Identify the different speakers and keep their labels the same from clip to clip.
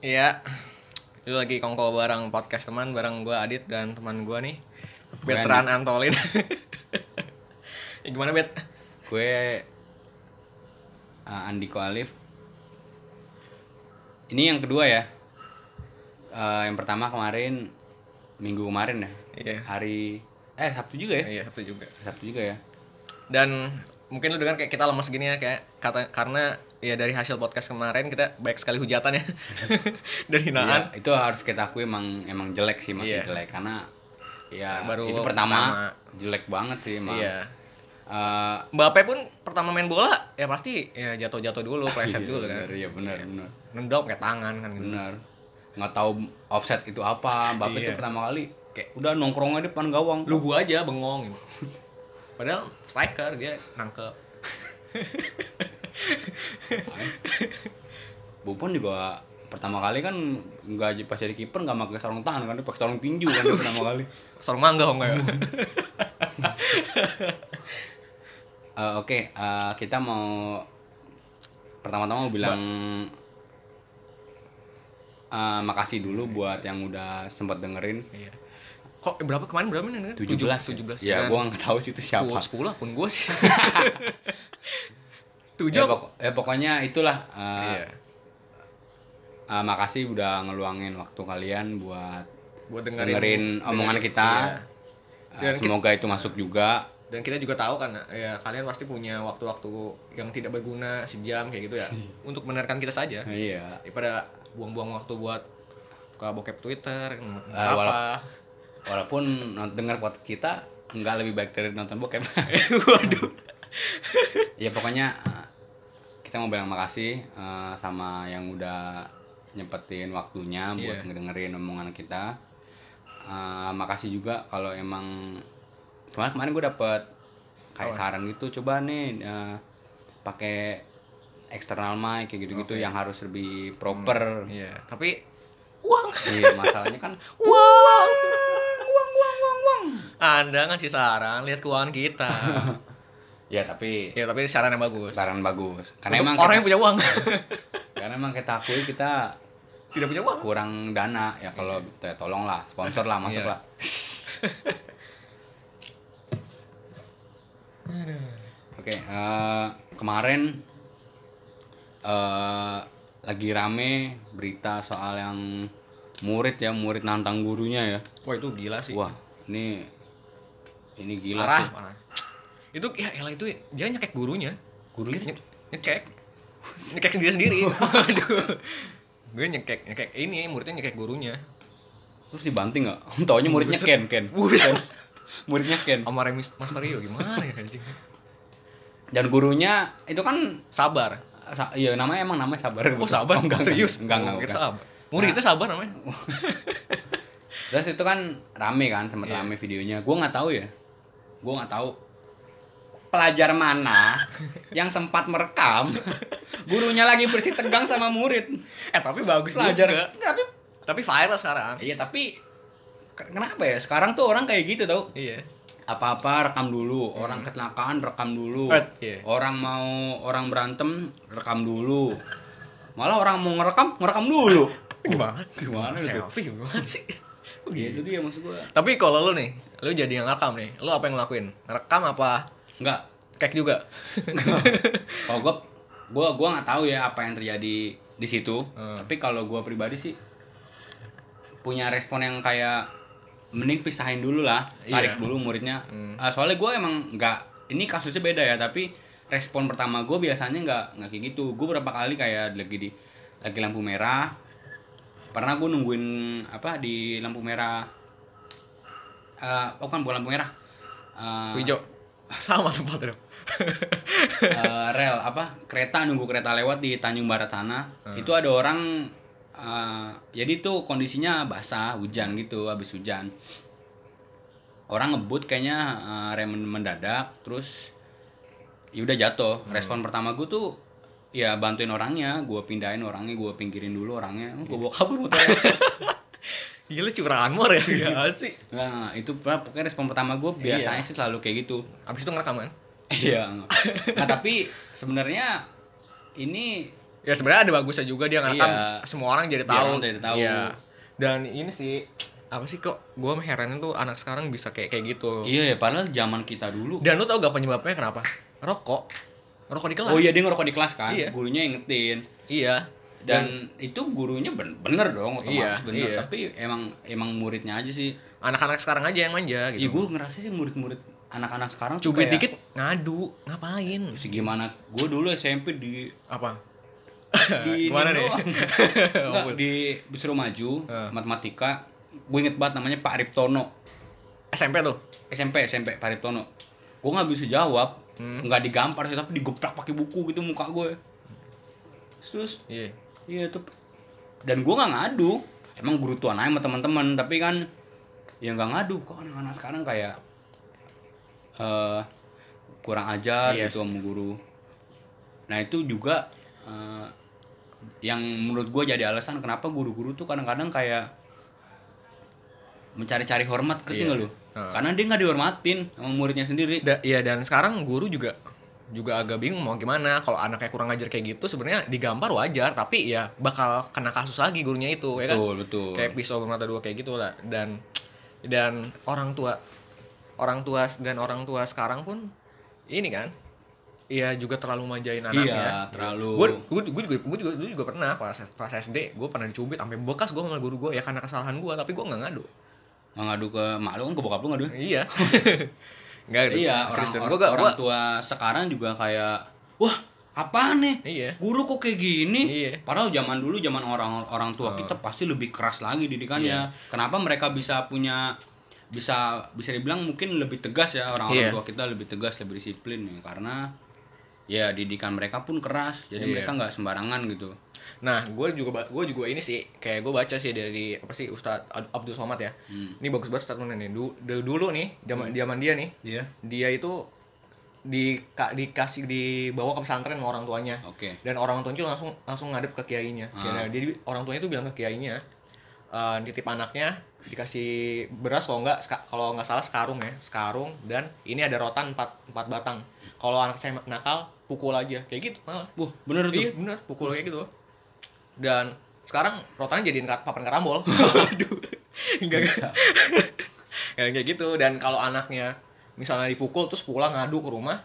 Speaker 1: Ya, lu lagi kongko bareng podcast teman bareng gua Adit dan teman gua nih Betran Antolin. Ya, gimana Bet?
Speaker 2: Gue uh, Andiko Alif. Ini yang kedua ya. Eh, yang pertama kemarin minggu kemarin ya.
Speaker 1: Iya.
Speaker 2: Hari eh Sabtu juga ya.
Speaker 1: Iya, Sabtu juga.
Speaker 2: Sabtu juga ya.
Speaker 1: Dan mungkin lu dengar kayak kita lemes gini ya kayak kata karena ya dari hasil podcast kemarin kita baik sekali hujatan ya dan hinaan.
Speaker 2: Iya, itu harus kita akui emang emang jelek sih
Speaker 1: Nah,
Speaker 2: masih
Speaker 1: Iya.
Speaker 2: jelek karena ya
Speaker 1: Baru
Speaker 2: itu pertama,
Speaker 1: pertama.
Speaker 2: jelek banget sih emang.
Speaker 1: Iya.
Speaker 2: Eh,
Speaker 1: Mbappe pun pertama main bola ya pasti ya jatuh-jatuh dulu, pleset
Speaker 2: iya,
Speaker 1: dulu
Speaker 2: bener,
Speaker 1: kan.
Speaker 2: Iya benar benar.
Speaker 1: Nendok kayak tangan kan gitu.
Speaker 2: Benar. Nggak tahu offset itu apa. Bapak itu
Speaker 1: Iya.
Speaker 2: pertama kali
Speaker 1: Kayak-
Speaker 2: udah nongkrong aja depan gawang.
Speaker 1: Lu gua aja bengong gitu. Padahal striker dia nangkep.
Speaker 2: Bupon juga pertama kali kan nggak aja pas jadi kiper nggak pakai sarung tangan kan dia pakai sarung tinju kan dia pertama kali.
Speaker 1: Sorong mangga kok enggak ya?
Speaker 2: Eh, Oke, eh, kita mau pertama-tama mau bilang eh, makasih dulu buat yang udah sempat dengerin
Speaker 1: Iya. Kok eh, berapa kemarin berapa nih? Nandang?
Speaker 2: 17
Speaker 1: tujuh belas. kan?
Speaker 2: Ya, gua nggak tahu sih itu siapa.
Speaker 1: sepuluh sepuluh akun gua sih.
Speaker 2: Ya,
Speaker 1: Tujuh. apa?
Speaker 2: pok- ya, pokoknya itulah eh,
Speaker 1: Iya.
Speaker 2: eh, makasih udah ngeluangin waktu kalian buat
Speaker 1: Buat
Speaker 2: dengerin,
Speaker 1: dengerin,
Speaker 2: omongan
Speaker 1: dengerin-
Speaker 2: kita.
Speaker 1: Iya.
Speaker 2: Eh,
Speaker 1: Dan kita-
Speaker 2: semoga itu masuk juga.
Speaker 1: Dan kita juga tahu kan ya kalian pasti punya waktu-waktu yang tidak berguna sejam kayak gitu ya untuk menerkan kita saja.
Speaker 2: Iya.
Speaker 1: Daripada buang-buang waktu buat buka bokep Twitter, nonton
Speaker 2: Ah,
Speaker 1: apa.
Speaker 2: Walaupun non- dengar podcast kita nggak lebih baik dari nonton bokep.
Speaker 1: Waduh.
Speaker 2: ya pokoknya eh, kita mau bilang makasih eh, sama yang udah nyempetin waktunya buat
Speaker 1: Iya.
Speaker 2: ngedengerin omongan kita. Eh, makasih juga kalau emang kemarin kemarin gue dapet kayak
Speaker 1: Apa?
Speaker 2: saran gitu coba nih eh, pakai eksternal mic kayak gitu-gitu
Speaker 1: Oke.
Speaker 2: yang harus lebih proper.
Speaker 1: Iya, tapi uang
Speaker 2: Iya, masalahnya kan
Speaker 1: uang uang uang uang uang anda ngasih saran lihat keuangan kita
Speaker 2: ya tapi
Speaker 1: ya tapi saran yang bagus
Speaker 2: saran bagus. Karena
Speaker 1: Untuk
Speaker 2: emang
Speaker 1: orang yang
Speaker 2: kita-
Speaker 1: punya uang
Speaker 2: karena emang kita akui kita
Speaker 1: tidak punya uang
Speaker 2: kurang dana ya kalau ya tolonglah sponsor lah masuk
Speaker 1: Iya.
Speaker 2: lah oke eh, kemarin eh lagi rame berita soal yang murid ya murid nantang gurunya ya
Speaker 1: wah itu gila sih
Speaker 2: wah ini ini gila
Speaker 1: Iya. parah
Speaker 2: sih.
Speaker 1: parah itu ya elah itu dia nyekek gurunya
Speaker 2: gurunya
Speaker 1: Nye- nyekek nyekek sendiri sendiri aduh gue nyekek nyekek ini muridnya nyekek gurunya
Speaker 2: terus dibanting nggak taunya muridnya
Speaker 1: Buset.
Speaker 2: Ken Ken
Speaker 1: Buset.
Speaker 2: muridnya Ken
Speaker 1: sama remis master Rio gimana ya anjing
Speaker 2: dan gurunya itu kan
Speaker 1: sabar
Speaker 2: Sa- iya namanya emang namanya sabar
Speaker 1: oh
Speaker 2: betul.
Speaker 1: sabar
Speaker 2: Oh, enggak,
Speaker 1: serius
Speaker 2: enggak enggak,
Speaker 1: Gue kira
Speaker 2: enggak. Nah.
Speaker 1: sabar muridnya sabar namanya
Speaker 2: terus itu kan rame kan sempat
Speaker 1: Iya.
Speaker 2: rame videonya gue nggak tahu ya gue nggak tahu pelajar mana yang sempat merekam gurunya lagi bersih tegang sama murid
Speaker 1: eh tapi bagus juga.
Speaker 2: pelajar tapi
Speaker 1: tapi viral sekarang
Speaker 2: iya tapi ke- kenapa ya sekarang tuh orang kayak gitu tau
Speaker 1: iya
Speaker 2: apa-apa rekam dulu orang kecelakaan rekam dulu
Speaker 1: Eh, iya.
Speaker 2: orang mau orang berantem rekam dulu malah orang mau ngerekam ngerekam dulu
Speaker 1: gimana
Speaker 2: Oh, Gimana gitu? itu?
Speaker 1: selfie gimana sih Kok
Speaker 2: ya
Speaker 1: gitu?
Speaker 2: itu dia maksud gue
Speaker 1: tapi kalau lu nih lu jadi yang rekam nih lu apa yang ngelakuin rekam apa
Speaker 2: Enggak.
Speaker 1: kek juga
Speaker 2: Kalau gue, gue gue nggak tahu ya apa yang terjadi di situ.
Speaker 1: Hmm.
Speaker 2: Tapi kalau gue pribadi sih punya respon yang kayak mending pisahin dulu lah,
Speaker 1: Iya.
Speaker 2: tarik dulu muridnya.
Speaker 1: Hmm.
Speaker 2: Ah, soalnya gue emang nggak, ini kasusnya beda ya. Tapi respon pertama gue biasanya nggak nggak kayak gitu. Gue berapa kali kayak lagi di lagi lampu merah. Pernah gue nungguin apa di lampu merah. Eh, oh kan bukan lampu merah. Eh,
Speaker 1: hijau sama tempatnya dong
Speaker 2: eh, rel apa kereta nunggu kereta lewat di Tanjung Barat sana itu ada orang eh, jadi tuh kondisinya basah hujan gitu habis hujan orang ngebut kayaknya eh, rem mendadak terus ya udah jatuh respon pertama gue tuh ya bantuin orangnya gue pindahin orangnya gue pinggirin dulu orangnya gue bawa kabur motornya
Speaker 1: gila curahan mor ya iya sih
Speaker 2: nah itu pokoknya respon pertama gue biasanya sih selalu kayak gitu
Speaker 1: abis itu ngerekam kan
Speaker 2: Iya. Nah, tapi sebenarnya ini
Speaker 1: ya sebenarnya ada bagusnya juga dia ngerekam
Speaker 2: Iya.
Speaker 1: semua orang jadi
Speaker 2: Biar
Speaker 1: tahu
Speaker 2: orang jadi tahu.
Speaker 1: Iya. dan ini sih apa sih kok gue herannya tuh anak sekarang bisa kayak kayak gitu
Speaker 2: Iya ya, padahal zaman kita dulu.
Speaker 1: dan lu tau gak penyebabnya kenapa rokok rokok di kelas
Speaker 2: Oh iya dia ngerokok di kelas kan,
Speaker 1: Iya.
Speaker 2: gurunya ingetin.
Speaker 1: iya
Speaker 2: Dan, itu gurunya ben- bener dong otomatis
Speaker 1: Iya,
Speaker 2: bener,
Speaker 1: iya.
Speaker 2: tapi emang emang muridnya aja sih.
Speaker 1: anak-anak sekarang aja yang manja
Speaker 2: Ya
Speaker 1: gitu
Speaker 2: gue ngerasa sih murid-murid anak-anak sekarang tuh
Speaker 1: cubit
Speaker 2: kayak,
Speaker 1: dikit ngadu ngapain
Speaker 2: segimana gue dulu SMP di
Speaker 1: apa
Speaker 2: di
Speaker 1: Gimana nih?
Speaker 2: Enggak, di disuruh maju
Speaker 1: Eh.
Speaker 2: matematika gue inget banget namanya Pak Riptono
Speaker 1: SMP tuh
Speaker 2: SMP SMP Pak Riptono gue nggak bisa jawab
Speaker 1: Hmm.
Speaker 2: nggak digampar sih tapi digeprak pakai buku gitu muka gue terus
Speaker 1: iya
Speaker 2: iya tuh dan gue nggak ngadu emang guru tuan aja sama teman-teman tapi kan ya nggak ngadu kok anak-anak sekarang kayak eh kurang ajar
Speaker 1: Iya
Speaker 2: gitu sama guru nah itu juga eh, yang menurut gue jadi alasan kenapa guru-guru tuh kadang-kadang kayak mencari-cari hormat ngerti
Speaker 1: Iya.
Speaker 2: nggak lu
Speaker 1: Heeh.
Speaker 2: karena dia nggak dihormatin sama muridnya sendiri
Speaker 1: Da- iya dan sekarang guru juga juga agak bingung mau gimana kalau anaknya kurang ngajar kayak gitu sebenarnya digampar wajar tapi ya bakal kena kasus lagi gurunya itu ya kan
Speaker 2: betul betul
Speaker 1: kayak pisau bermata dua kayak gitu lah dan dan orang tua orang tua dan orang tua sekarang pun ini kan Iya juga terlalu manjain anaknya.
Speaker 2: Iya, terlalu.
Speaker 1: Gue gue gue juga gue juga, gua juga pernah pas pas SD gue pernah dicubit sampai bekas gue sama guru gue ya karena kesalahan gue tapi gue nggak ngadu.
Speaker 2: nggak ngadu ke mak lu kan ke bokap lu ngadu
Speaker 1: Iya. Enggak
Speaker 2: Iya, orang,
Speaker 1: asisten
Speaker 2: orang,
Speaker 1: gue gak
Speaker 2: orang tua sekarang juga kayak wah, apaan nih?
Speaker 1: Iya.
Speaker 2: Guru kok kayak gini?
Speaker 1: Iya. Oh.
Speaker 2: Padahal zaman dulu zaman orang orang tua kita pasti lebih keras lagi
Speaker 1: Iya.
Speaker 2: didikannya. Kenapa mereka bisa punya bisa bisa dibilang mungkin lebih tegas ya
Speaker 1: Iya.
Speaker 2: orang-orang tua kita lebih tegas, lebih disiplin ya karena ya didikan mereka pun keras. Jadi
Speaker 1: Iya.
Speaker 2: mereka nggak sembarangan gitu.
Speaker 1: Nah, gue juga gue juga ini sih kayak gue baca sih dari apa sih Ustadz Ab- Abdul Somad ya.
Speaker 2: Hmm.
Speaker 1: Ini bagus banget statementnya nih. Du- du- dulu nih zaman zaman dia nih,
Speaker 2: Iya.
Speaker 1: dia itu di ka- dikasih dibawa ke pesantren sama orang tuanya.
Speaker 2: Oke.
Speaker 1: Dan orang tuanya langsung langsung ngadep ke kiainya.
Speaker 2: Ah.
Speaker 1: Kiainya- Jadi orang tuanya itu bilang ke kiainya eh nitip anaknya dikasih beras kalau nggak seka- kalau nggak salah sekarung ya sekarung dan ini ada rotan empat empat batang kalau anak saya nakal pukul aja kayak gitu malah
Speaker 2: Wah, bener tuh.
Speaker 1: Iya bener, pukul kayak gitu. Dan sekarang rotannya jadiin kar- papan karambol. Aduh. Enggak enggak. Kayak kayak gitu dan kalau anaknya misalnya dipukul terus pulang ngadu ke rumah,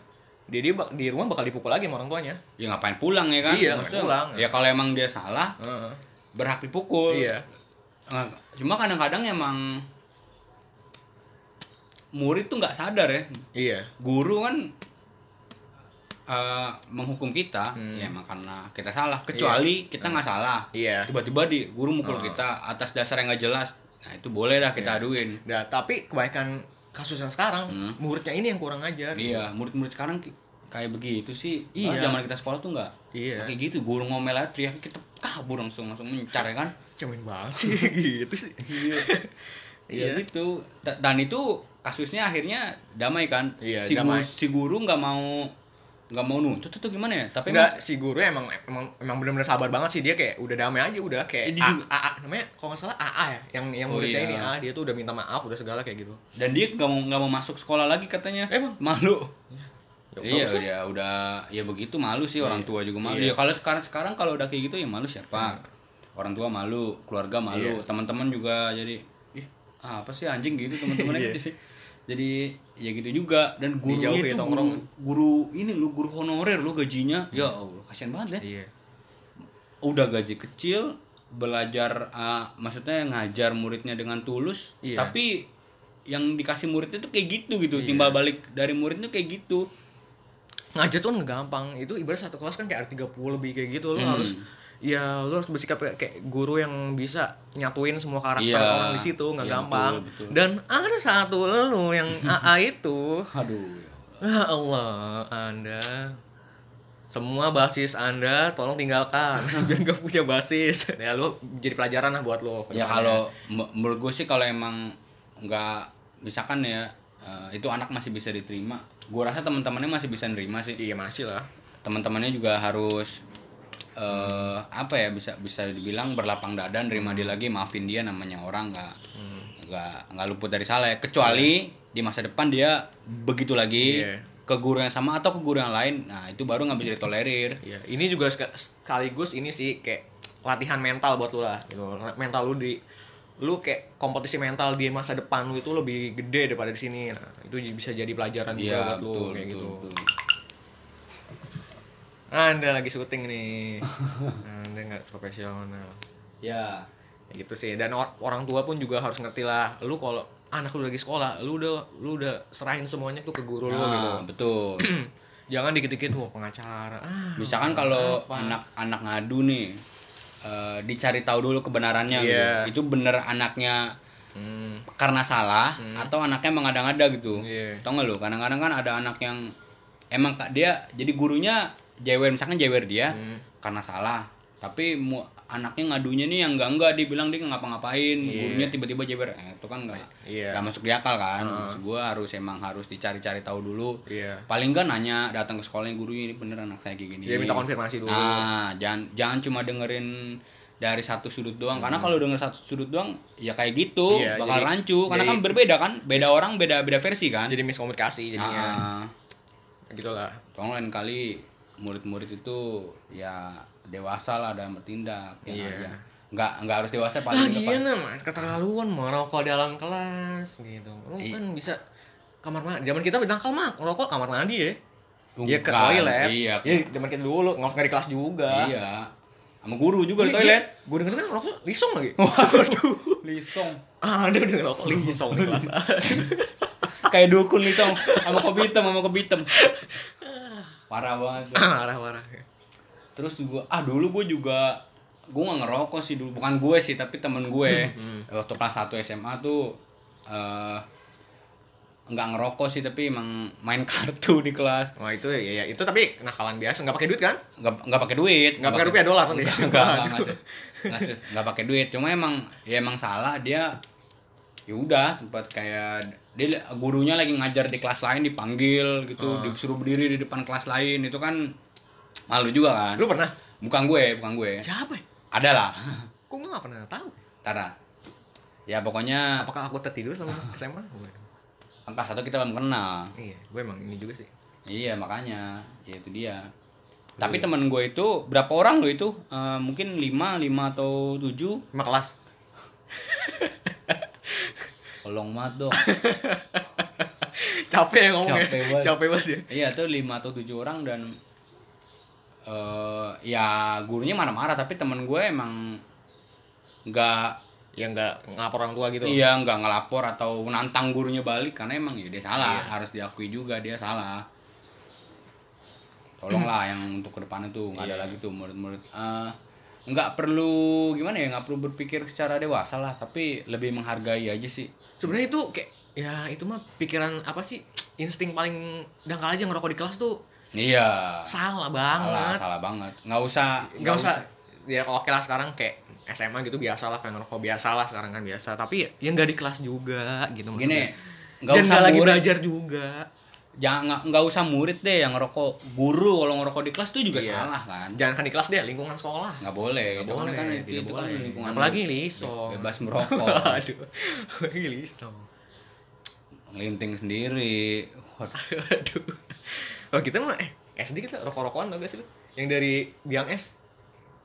Speaker 1: dia, dia bak- di rumah bakal dipukul lagi sama orang tuanya.
Speaker 2: Ya ngapain pulang ya kan?
Speaker 1: Iya, ngapain
Speaker 2: Maksudnya,
Speaker 1: pulang.
Speaker 2: Ya kalau emang dia salah,
Speaker 1: Heeh.
Speaker 2: berhak dipukul.
Speaker 1: Iya.
Speaker 2: Nah, cuma kadang-kadang emang murid tuh nggak sadar ya.
Speaker 1: Iya.
Speaker 2: Guru kan eh, menghukum kita,
Speaker 1: Hmm.
Speaker 2: ya emang karena kita salah. Kecuali kita nggak salah,
Speaker 1: Iya.
Speaker 2: tiba-tiba di guru
Speaker 1: Oh.
Speaker 2: mukul kita atas dasar yang nggak jelas. Nah itu boleh dah kita
Speaker 1: Iya.
Speaker 2: aduin.
Speaker 1: Nah, tapi kebanyakan kasus yang sekarang
Speaker 2: Hmm.
Speaker 1: muridnya ini yang kurang ajar.
Speaker 2: Iya, murid-murid sekarang ki- kayak begitu sih.
Speaker 1: Iya.
Speaker 2: Iya. zaman kita sekolah tuh nggak
Speaker 1: Iya.
Speaker 2: kayak gitu. Guru ngomel aja, teriak kita kabur langsung langsung mencar ya kan.
Speaker 1: Cemen banget sih gitu sih.
Speaker 2: Iya.
Speaker 1: Iya.
Speaker 2: Ya gitu. Da- Dan itu kasusnya akhirnya damai kan?
Speaker 1: Iya,
Speaker 2: si
Speaker 1: damai.
Speaker 2: Guru, si guru nggak mau nggak mau nuntut itu gimana ya? Tapi
Speaker 1: Enggak, si guru emang emang emang benar-benar sabar banget sih dia kayak udah damai aja udah kayak
Speaker 2: Ini
Speaker 1: A,
Speaker 2: juga-
Speaker 1: AA namanya kalau nggak salah AA ya yang yang
Speaker 2: Oh,
Speaker 1: muridnya
Speaker 2: iya.
Speaker 1: ini AA dia tuh udah minta maaf udah segala kayak gitu.
Speaker 2: emang- dan dia nggak mau nggak mau masuk sekolah lagi katanya.
Speaker 1: Emang
Speaker 2: Malu.
Speaker 1: bagus
Speaker 2: iya,
Speaker 1: lah.
Speaker 2: ya udah ya begitu malu sih orang
Speaker 1: Iya.
Speaker 2: tua juga malu.
Speaker 1: Iya.
Speaker 2: Ya kalau sekarang sekarang kalau udah kayak gitu ya malu siapa? Orang tua malu, keluarga malu,
Speaker 1: Iya.
Speaker 2: teman-teman juga jadi ih, apa sih anjing gitu teman-temannya gitu sih. Jadi ya gitu juga dan
Speaker 1: Iya.
Speaker 2: gurunya
Speaker 1: Dijauhi ya,
Speaker 2: itu
Speaker 1: tongkrong. Hmm.
Speaker 2: guru, guru ini lu guru honorer lu gajinya ya Allah kasihan banget ya.
Speaker 1: Iya.
Speaker 2: udah gaji kecil belajar ah, maksudnya ngajar muridnya dengan tulus
Speaker 1: Iya.
Speaker 2: tapi yang dikasih muridnya tuh kayak gitu gitu timbal balik dari muridnya kayak gitu
Speaker 1: Ngajar tuh nggak gampang. Itu ibarat satu kelas kan kayak ada 30 lebih kayak gitu. Lu
Speaker 2: Hmm.
Speaker 1: harus ya lu harus bersikap kayak, kayak guru yang bisa nyatuin semua karakter
Speaker 2: Iya.
Speaker 1: orang di situ nggak
Speaker 2: Iya,
Speaker 1: gampang.
Speaker 2: betul, betul.
Speaker 1: Dan ada satu lu yang AA itu.
Speaker 2: aduh
Speaker 1: Ya Allah, Anda semua basis Anda tolong tinggalkan biar gak punya basis. Ya lu jadi pelajaran lah buat Iya, lo.
Speaker 2: ya kalau me- menurut gue sih kalau emang nggak misalkan ya eh, itu anak masih bisa diterima gue rasa teman-temannya masih bisa nerima sih
Speaker 1: iya masih lah.
Speaker 2: teman-temannya juga harus eh apa ya bisa bisa dibilang berlapang dada nerima dia lagi maafin dia namanya orang nggak
Speaker 1: Hmm.
Speaker 2: nggak nggak luput dari salah ya kecuali di masa depan dia begitu lagi
Speaker 1: Iya.
Speaker 2: ke guru yang sama atau ke guru yang lain nah itu baru nggak bisa ditolerir
Speaker 1: Iya, ini juga sek- sekaligus ini sih kayak latihan mental buat lu lah. Gitu. Mental lu di lu kayak kompetisi mental di masa depan lu itu lebih gede daripada di sini. Nah, itu j- bisa jadi pelajaran
Speaker 2: Iya,
Speaker 1: juga buat lu kayak gitu. Anda lagi syuting nih. Anda nggak profesional.
Speaker 2: ya
Speaker 1: Ya gitu sih. Dan or- orang tua pun juga harus ngerti lah. Lu kalau anak lu lagi sekolah, lu udah lu udah serahin semuanya tuh ke guru lu gitu.
Speaker 2: nah, betul
Speaker 1: Jangan dikit-dikit wah pengacara. Ah,
Speaker 2: misalkan kalau anak-anak ngadu nih eh, dicari tahu dulu kebenarannya
Speaker 1: Iya.
Speaker 2: gitu. itu bener anaknya
Speaker 1: hmm,
Speaker 2: karena salah atau anaknya mengada-ngada gitu
Speaker 1: iya.
Speaker 2: tau gak lu kadang-kadang kan ada anak yang emang kak dia jadi gurunya jewer misalkan jewer dia
Speaker 1: Hmm.
Speaker 2: karena salah tapi mu, anaknya ngadunya nih yang enggak enggak dia bilang dia nggak ngapa-ngapain gurunya tiba-tiba jewer eh, itu kan nggak
Speaker 1: Iya.
Speaker 2: nggak masuk di akal kan Maksud gua harus emang harus dicari-cari tahu dulu
Speaker 1: Iya.
Speaker 2: paling enggak nanya datang ke sekolahnya gurunya ini bener anak saya kayak gini
Speaker 1: Dia minta konfirmasi dulu.
Speaker 2: nah jangan jangan cuma dengerin dari satu sudut doang karena kalau denger satu sudut doang ya kayak gitu
Speaker 1: Iya, jadi-
Speaker 2: bakal rancu karena
Speaker 1: jadi-
Speaker 2: kan berbeda kan beda orang beda beda versi kan
Speaker 1: Jadi miskomunikasi jadinya.
Speaker 2: Ah,
Speaker 1: Gitulah.
Speaker 2: tolong lain kali murid-murid itu ya dewasa lah dalam bertindak ya
Speaker 1: Iya.
Speaker 2: aja. nggak nggak harus dewasa
Speaker 1: Nah,
Speaker 2: paling
Speaker 1: Lagian amat keterlaluan merokok dalam kelas gitu. Lu kan bisa kamar mandi. Zaman kita nakal mah ngerokok kamar mandi ya. Iya ke
Speaker 2: Bukan,
Speaker 1: toilet.
Speaker 2: iya
Speaker 1: Ya zaman kita dulu ngerokok nggak di kelas juga.
Speaker 2: iya sama guru juga di
Speaker 1: Iya,
Speaker 2: toilet
Speaker 1: Gue denger kan ngerokok lisong lagi.
Speaker 2: waduh lisong
Speaker 1: Ah, ada udah ngerokok lisong di kelas.
Speaker 2: kayak dukun lisong sama kopi hitam sama kopi hitam parah banget tuh.
Speaker 1: Ah, Parah parah.
Speaker 2: terus juga ah dulu gue juga gue nggak ngerokok sih dulu bukan gue sih tapi temen gue
Speaker 1: Hmm,
Speaker 2: waktu kelas 1 SMA tuh eh, nggak ngerokok sih tapi emang main kartu di kelas
Speaker 1: Wah itu ya, ya itu tapi kenakalan biasa nggak pakai duit kan?
Speaker 2: nggak nggak pakai duit
Speaker 1: Nggak pakai rupiah dolar kan?
Speaker 2: nggak nggak ngasus ngasus nggak pakai duit cuma emang ya emang salah dia ya udah sempat kayak dia gurunya lagi ngajar di kelas lain dipanggil gitu
Speaker 1: Ah.
Speaker 2: disuruh berdiri di depan kelas lain itu kan malu juga kan
Speaker 1: Lu pernah?
Speaker 2: bukan gue bukan gue
Speaker 1: Siapa? ya?
Speaker 2: ada lah
Speaker 1: Kok gue nggak pernah tahu?
Speaker 2: Tara ya pokoknya
Speaker 1: Apakah aku tertidur
Speaker 2: Ah.
Speaker 1: selama SMA?
Speaker 2: angka satu kita belum kenal
Speaker 1: Iya, gue emang ini juga sih.
Speaker 2: iya makanya ya itu dia tapi temen gue itu berapa orang lo itu Eh, mungkin 5 5 atau 7
Speaker 1: Lima kelas.
Speaker 2: Tolong banget dong.
Speaker 1: Capek ya ngomongnya.
Speaker 2: Capek banget.
Speaker 1: Capek banget ya.
Speaker 2: iya tuh lima atau tujuh orang dan eh ya gurunya marah-marah tapi temen gue emang nggak
Speaker 1: Ya nggak ngapor orang tua gitu.
Speaker 2: iya nggak ngelapor atau nantang gurunya balik karena emang ya dia salah
Speaker 1: Iya.
Speaker 2: harus diakui juga dia salah tolonglah yang untuk kedepannya tuh nggak
Speaker 1: Iya.
Speaker 2: ada lagi tuh murid-murid Eh, nggak perlu gimana ya nggak perlu berpikir secara dewasa lah tapi lebih menghargai aja sih
Speaker 1: Sebenarnya itu kayak ya itu mah pikiran apa sih? Insting paling dangkal aja ngerokok di kelas tuh
Speaker 2: iya
Speaker 1: salah
Speaker 2: salah
Speaker 1: banget.
Speaker 2: salah banget nggak usah
Speaker 1: Nggak usah ya oke lah sekarang kayak SMA gitu biasa lah kayak ngerokok biasa lah sekarang kan biasa tapi ya nggak di kelas juga gitu
Speaker 2: gini
Speaker 1: maksudnya.
Speaker 2: nggak
Speaker 1: dan
Speaker 2: usah
Speaker 1: nggak lagi
Speaker 2: murid
Speaker 1: belajar juga
Speaker 2: jangan nggak- nggak usah murid deh yang ngerokok guru kalau ngerokok di kelas tuh juga
Speaker 1: Iya.
Speaker 2: salah kan
Speaker 1: jangan kan di kelas deh lingkungan sekolah
Speaker 2: nggak boleh
Speaker 1: nggak
Speaker 2: itu kan
Speaker 1: boleh
Speaker 2: kan
Speaker 1: tidak
Speaker 2: itu, itu kan
Speaker 1: boleh
Speaker 2: lingkungan
Speaker 1: apalagi lisong
Speaker 2: Iya, bebas merokok
Speaker 1: aduh apalagi lisong
Speaker 2: ngelinting sendiri Waduh.
Speaker 1: Aduh. Oh kita mah eh SD kita rokok-rokokan tau gak sih lu? Yang dari biang es.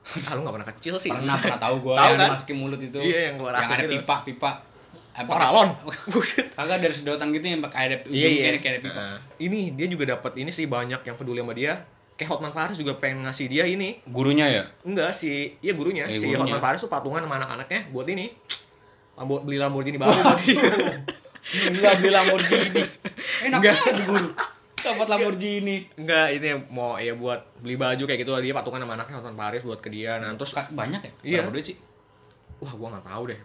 Speaker 1: Ah lu gak pernah kecil sih.
Speaker 2: pernah
Speaker 1: susah.
Speaker 2: pernah tahu gue
Speaker 1: Tahu
Speaker 2: yang
Speaker 1: kan?
Speaker 2: masukin mulut itu
Speaker 1: Iya, yang keluar
Speaker 2: yang
Speaker 1: asap
Speaker 2: ada
Speaker 1: gitu.
Speaker 2: pipa pipa apa
Speaker 1: Paralon.
Speaker 2: kagak dari sedotan gitu yang pakai ada
Speaker 1: Iya iya.
Speaker 2: ujungnya kayak ada pipa
Speaker 1: Heeh. ini dia juga dapat ini sih banyak yang peduli sama dia. Kayak Hotman Paris juga pengen ngasih dia ini.
Speaker 2: gurunya ya
Speaker 1: Enggak si iya gurunya,
Speaker 2: Eh,
Speaker 1: si
Speaker 2: gurunya.
Speaker 1: Hotman Paris tuh patungan sama anak-anaknya buat ini. Lambo, beli Lamborghini baru buat dia.
Speaker 2: gila beli Lamborghini enak banget guru dapat Lamborghini
Speaker 1: Enggak, ini mau ya buat beli baju kayak gitu dia patungan sama anaknya Hotman Paris buat ke dia. Nah, terus
Speaker 2: Ka- banyak ya
Speaker 1: Iya.
Speaker 2: Berapa duit sih
Speaker 1: wah gua nggak tahu deh.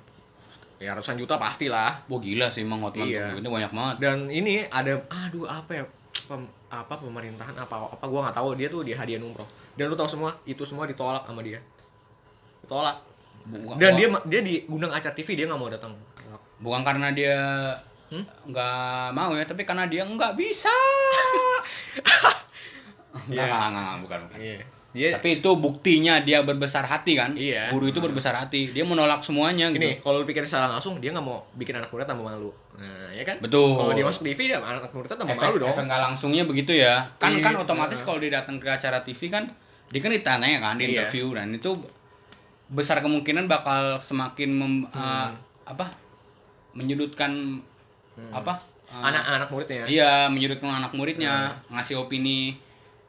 Speaker 1: Ya ratusan juta pastilah.
Speaker 2: Wah gila sih emang Hotman
Speaker 1: Iya.
Speaker 2: tuh duitnya banyak banget
Speaker 1: dan ini ada aduh apa ya pem- apa pemerintahan apa apa gua nggak tahu dia tuh di hadiah umroh dan lu tahu semua itu semua ditolak sama dia ditolak
Speaker 2: Bukan-
Speaker 1: dan dia ma- dia diundang acara TV dia nggak mau datang
Speaker 2: bukan karena dia
Speaker 1: Hmm?
Speaker 2: nggak mau ya tapi karena dia nggak bisa
Speaker 1: Iya.
Speaker 2: nggak nggak nggak bukan bukan
Speaker 1: Iya. Dia
Speaker 2: Tapi itu buktinya dia berbesar hati kan?
Speaker 1: Iya.
Speaker 2: Guru itu berbesar hati. Dia menolak semuanya gitu.
Speaker 1: gini, kalau lu pikir salah langsung dia nggak mau bikin anak murid tambah malu. Nah, ya kan?
Speaker 2: Betul.
Speaker 1: Kalau dia masuk TV ya anak muridnya tambah
Speaker 2: efek,
Speaker 1: malu dong.
Speaker 2: efek nggak langsungnya begitu ya. Kan kan
Speaker 1: Iya.
Speaker 2: otomatis kalau dia datang ke acara TV kan dia kan ditanya kan di
Speaker 1: Iya.
Speaker 2: interview dan itu besar kemungkinan bakal semakin mem-
Speaker 1: Hmm.
Speaker 2: eh, apa? menyudutkan apa? eh,
Speaker 1: Hmm. Anak-anak muridnya.
Speaker 2: Iya, menyudutkan anak muridnya, ngasih opini,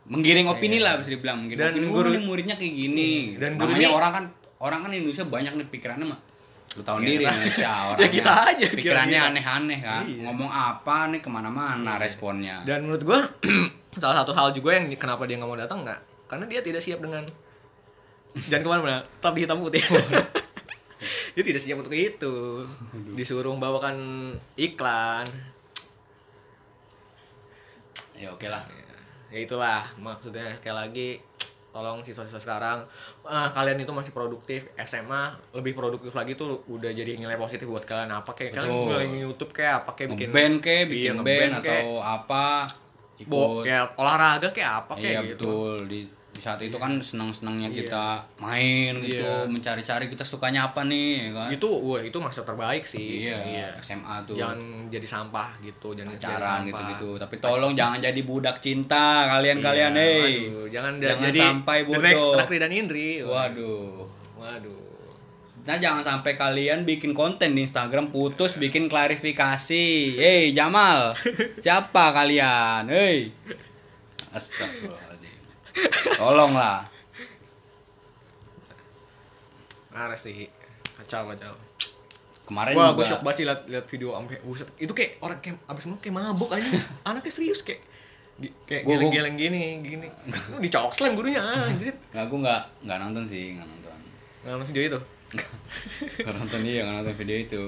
Speaker 2: menggiring opini lah bisa dibilang. Menggiring
Speaker 1: Iya. Dan
Speaker 2: opini, "Wah,
Speaker 1: guru-
Speaker 2: ini muridnya kayak gini.
Speaker 1: Iya, dan guru
Speaker 2: Namanya
Speaker 1: ini-
Speaker 2: orang kan orang kan Indonesia banyak nih pikirannya mah lu tahu
Speaker 1: Iya,
Speaker 2: diri
Speaker 1: kita-
Speaker 2: Indonesia orang
Speaker 1: Ya, kita aja, kira-kira.
Speaker 2: pikirannya aneh-aneh kan
Speaker 1: Iya.
Speaker 2: ngomong apa nih kemana-mana responnya
Speaker 1: Dan menurut gua salah satu hal juga yang kenapa dia nggak mau datang nggak? Karena dia tidak siap dengan jangan kemana-mana, tetap di hitam putih. dia tidak siap untuk itu. Disuruh membawakan iklan.
Speaker 2: ya oke lah
Speaker 1: Ya itulah maksudnya sekali lagi tolong siswa-siswa sekarang ah, kalian itu masih produktif SMA lebih produktif lagi tuh udah jadi nilai positif buat kalian apa kayak kalian
Speaker 2: Betul.
Speaker 1: mulai YouTube kayak apa kayak bikin
Speaker 2: ngeband ke bikin
Speaker 1: Iya, ngeband
Speaker 2: band
Speaker 1: kek.
Speaker 2: atau apa ikut
Speaker 1: bo ya olahraga kayak apa kayak
Speaker 2: iya
Speaker 1: gitu
Speaker 2: betul di, di saat itu kan senang-senangnya
Speaker 1: Iya.
Speaker 2: kita main gitu
Speaker 1: Iya. Gitu.
Speaker 2: mencari-cari kita sukanya apa nih ya kan
Speaker 1: itu wah itu masa terbaik sih
Speaker 2: iya, SMA tuh
Speaker 1: jangan jadi sampah gitu jangan jadi
Speaker 2: pacaran
Speaker 1: sampah
Speaker 2: gitu-gitu. Tapi tolong jangan jadi budak cinta kalian-kalian,
Speaker 1: Iya,
Speaker 2: hei.
Speaker 1: aduh, jangan, da-
Speaker 2: Jangan
Speaker 1: jadi
Speaker 2: sampai
Speaker 1: the next
Speaker 2: bodoh.
Speaker 1: Rakri dan Indri
Speaker 2: Waduh.
Speaker 1: waduh
Speaker 2: Nah, jangan sampai kalian bikin konten di Instagram putus bikin klarifikasi. Hei, Jamal. Siapa kalian? Hei. Astagfirullahaladzim. Tolonglah.
Speaker 1: parah sih kacau kacau
Speaker 2: Kemarin
Speaker 1: Wah, gue
Speaker 2: juga
Speaker 1: shock banget sih liat, liat video ampe buset. Itu kayak orang kayak abis ngomong kayak mabuk aja. Anaknya serius kayak gi- kayak
Speaker 2: Gua- gua-
Speaker 1: geleng-geleng gini, gini. Lu dicok slam gurunya anjir.
Speaker 2: Nggak, gue nggak nggak nonton sih, nggak nonton.
Speaker 1: Nah, video itu.
Speaker 2: Nggak nonton iya, nggak nonton video itu.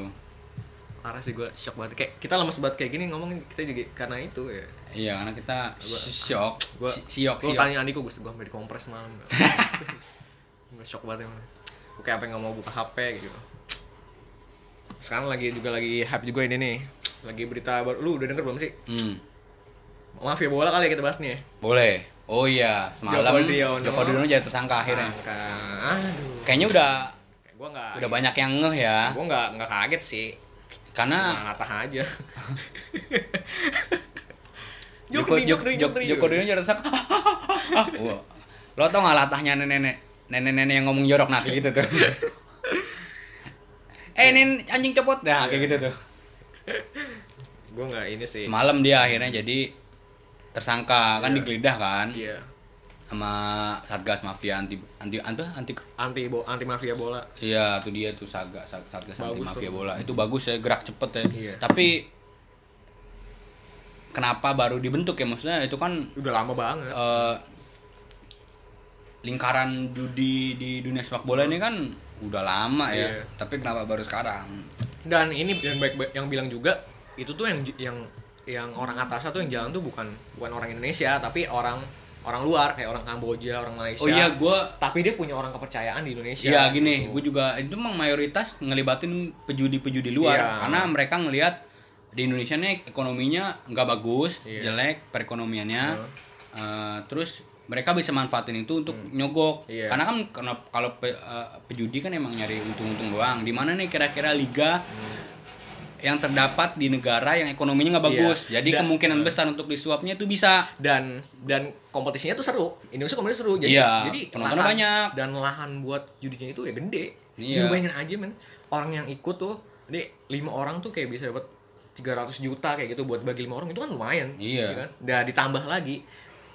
Speaker 1: Parah sih gue shock banget. Kayak kita lemes banget kayak gini ngomongin kita juga karena itu ya.
Speaker 2: Iya, karena kita shock.
Speaker 1: Gua-
Speaker 2: Si- Siok,
Speaker 1: Lu
Speaker 2: siok.
Speaker 1: tanya Andiko, gue gue sampai dikompres malam. gue shock banget emang. Gue kayak apa nggak mau buka HP gitu. Sekarang lagi juga lagi hype juga ini nih. Lagi berita baru. Lu udah denger belum sih?
Speaker 2: Hmm.
Speaker 1: Mafia bola kali ya kita bahas nih ya.
Speaker 2: Boleh. Oh iya, semalam
Speaker 1: Joko
Speaker 2: Joko
Speaker 1: Driono.
Speaker 2: Driono, jadi tersangka akhirnya.
Speaker 1: Sangka. Aduh.
Speaker 2: Kayaknya udah
Speaker 1: gue nggak
Speaker 2: udah banyak Ah. yang ngeh ya.
Speaker 1: gue nggak nggak kaget sih
Speaker 2: Karena
Speaker 1: nah. natah aja
Speaker 2: Joko Joko Joko, Joko Driono jadi tersangka. Wah. Lo tau gak latahnya nenek-nenek nenek-nenek yang ngomong jorok nah kayak gitu tuh. eh, nen anjing copot nah kayak gitu tuh.
Speaker 1: gue nggak ini sih
Speaker 2: Semalam dia akhirnya jadi tersangka kan digeledah kan
Speaker 1: iya
Speaker 2: sama Satgas Mafia anti anti anti, anti
Speaker 1: anti bo anti mafia bola
Speaker 2: Iya, tuh dia tuh saga Sat- satgas anti
Speaker 1: Bagus
Speaker 2: mafia
Speaker 1: tuh.
Speaker 2: bola. Itu bagus ya, gerak cepet ya.
Speaker 1: Iya.
Speaker 2: Tapi kenapa baru dibentuk ya maksudnya? Itu kan
Speaker 1: udah lama banget
Speaker 2: eh, lingkaran judi di dunia sepak bola ini kan udah lama ya.
Speaker 1: Iya.
Speaker 2: Tapi kenapa baru sekarang?
Speaker 1: dan ini yang baik, baik- yang bilang juga itu tuh yang yang yang orang atas tuh yang jalan tuh bukan bukan orang Indonesia tapi orang orang luar kayak orang Kamboja orang Malaysia
Speaker 2: Oh iya, gua
Speaker 1: tapi dia punya orang kepercayaan di Indonesia
Speaker 2: Iya gini,
Speaker 1: gitu.
Speaker 2: gue juga itu emang mayoritas ngelibatin pejudi-pejudi luar
Speaker 1: Iya.
Speaker 2: karena mereka ngelihat di Indonesia nih ekonominya nggak bagus,
Speaker 1: Iya.
Speaker 2: jelek perekonomiannya, Eh, terus mereka bisa manfaatin itu untuk nyogok,
Speaker 1: Iya.
Speaker 2: karena kan karena kalau pe- eh, pejudi kan emang nyari untung-untung doang. Di mana nih kira-kira liga yang terdapat di negara yang ekonominya nggak bagus,
Speaker 1: Iya.
Speaker 2: jadi
Speaker 1: Dan-
Speaker 2: kemungkinan besar untuk disuapnya itu bisa.
Speaker 1: dan dan kompetisinya tuh seru Indonesia kompetisinya seru jadi
Speaker 2: Iya,
Speaker 1: jadi
Speaker 2: penontonnya banyak.
Speaker 1: dan lahan buat judinya itu ya gede
Speaker 2: Iya.
Speaker 1: jadi bayangin aja men orang yang ikut tuh jadi lima orang tuh kayak bisa dapat 300 juta kayak gitu buat bagi lima orang itu kan lumayan
Speaker 2: Iya.
Speaker 1: ya kan dan ditambah lagi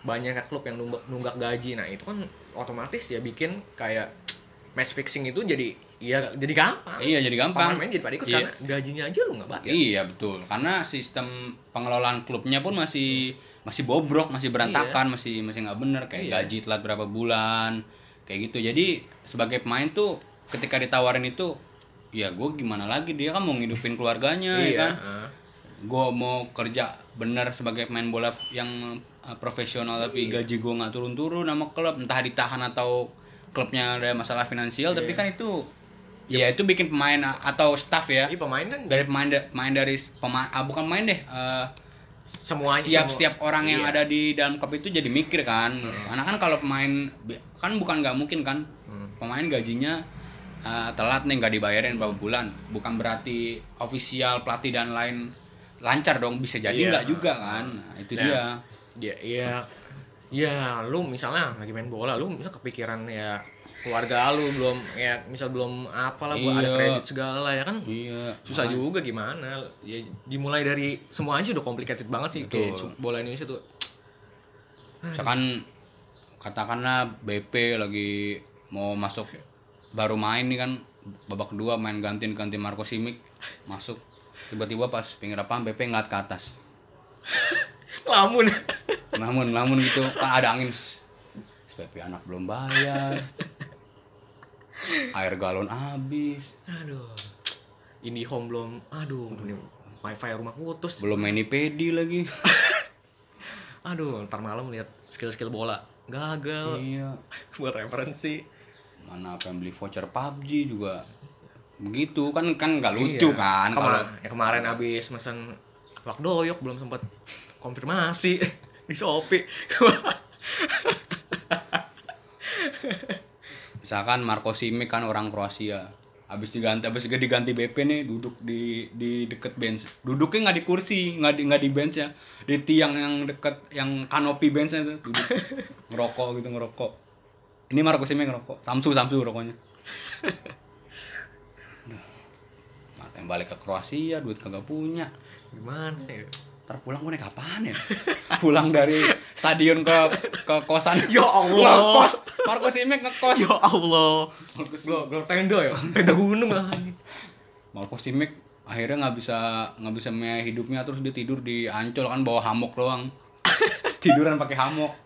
Speaker 1: banyak klub yang nunggak, nunggak gaji nah itu kan otomatis ya bikin kayak match fixing itu jadi ya jadi gampang
Speaker 2: Iya jadi gampang.
Speaker 1: pemain jadi pada ikut
Speaker 2: Iya.
Speaker 1: karena gajinya aja lu nggak bayar
Speaker 2: Iya betul, karena sistem pengelolaan klubnya pun masih masih bobrok, masih berantakan, masih masih nggak bener kayak
Speaker 1: Iya.
Speaker 2: gaji telat berapa bulan, kayak gitu. Jadi sebagai pemain tuh ketika ditawarin itu, ya gue gimana lagi dia kan mau ngidupin keluarganya, ya kan?
Speaker 1: ah.
Speaker 2: Gue mau kerja bener sebagai pemain bola yang eh, profesional tapi gaji gue nggak turun-turun sama klub, entah ditahan atau klubnya ada masalah finansial, tapi kan itu ya itu bikin pemain a- atau staff ya
Speaker 1: Iya, pemain kan
Speaker 2: dari pemain da- pemain dari pemain ah, bukan pemain deh eh,
Speaker 1: semuanya
Speaker 2: setiap
Speaker 1: semu-
Speaker 2: setiap orang yang
Speaker 1: Iya.
Speaker 2: ada di dalam klub itu jadi mikir kan karena kan kalau pemain kan bukan nggak mungkin kan
Speaker 1: Hmm.
Speaker 2: pemain gajinya uh, telat nih nggak dibayarin beberapa
Speaker 1: Hmm.
Speaker 2: bulan bukan berarti ofisial pelatih dan lain lancar dong bisa jadi
Speaker 1: Iya.
Speaker 2: nggak juga kan Nah, itu
Speaker 1: Nah.
Speaker 2: dia
Speaker 1: ya ya ya lu misalnya lagi main bola lu misal kepikiran ya keluarga lu belum ya misal belum apalah buat ada
Speaker 2: Iya.
Speaker 1: kredit segala ya kan
Speaker 2: iya
Speaker 1: susah juga gimana ya dimulai dari semua aja udah complicated banget sih kayak
Speaker 2: Betul.
Speaker 1: su- bola Indonesia tuh
Speaker 2: misalkan katakanlah BP lagi mau masuk baru main nih kan babak kedua main gantiin ganti Marco Simic masuk tiba-tiba pas pinggir lapangan BP ngeliat ke atas
Speaker 1: lamun
Speaker 2: namun namun gitu kan ada angin "Ss, BP anak belum bayar air galon habis
Speaker 1: aduh ini home belum aduh ini wifi rumah putus
Speaker 2: belum main pedi lagi
Speaker 1: aduh ntar malam lihat skill-skill bola gagal
Speaker 2: iya
Speaker 1: buat referensi
Speaker 2: mana apa yang beli voucher PUBG juga begitu kan kan nggak lucu
Speaker 1: Iya.
Speaker 2: kan
Speaker 1: Kema-
Speaker 2: kalau
Speaker 1: ya kemarin abis mesen wak doyok belum sempet konfirmasi di Shopee
Speaker 2: misalkan Marco Simic kan orang Kroasia habis diganti habis gede diganti BP nih duduk di di deket bench duduknya nggak di kursi nggak di nggak di bench ya di tiang yang deket yang kanopi benchnya itu duduk ngerokok gitu ngerokok ini Marco Simic ngerokok Samsu Samsu rokoknya Aduh. Matain balik ke Kroasia duit kagak punya
Speaker 1: gimana ya
Speaker 2: ntar pulang gue naik apaan ya pulang dari stadion ke ke kosan
Speaker 1: Ya Allah.
Speaker 2: ngekos Marco Simic ngekos
Speaker 1: ya Allah
Speaker 2: Marco
Speaker 1: gua
Speaker 2: Simic.
Speaker 1: gua tenda ya tenda gunung lah anjing.
Speaker 2: Marco Simic akhirnya nggak bisa nggak bisa me hidupnya terus dia tidur di ancol kan bawa hamok doang tiduran pakai hamok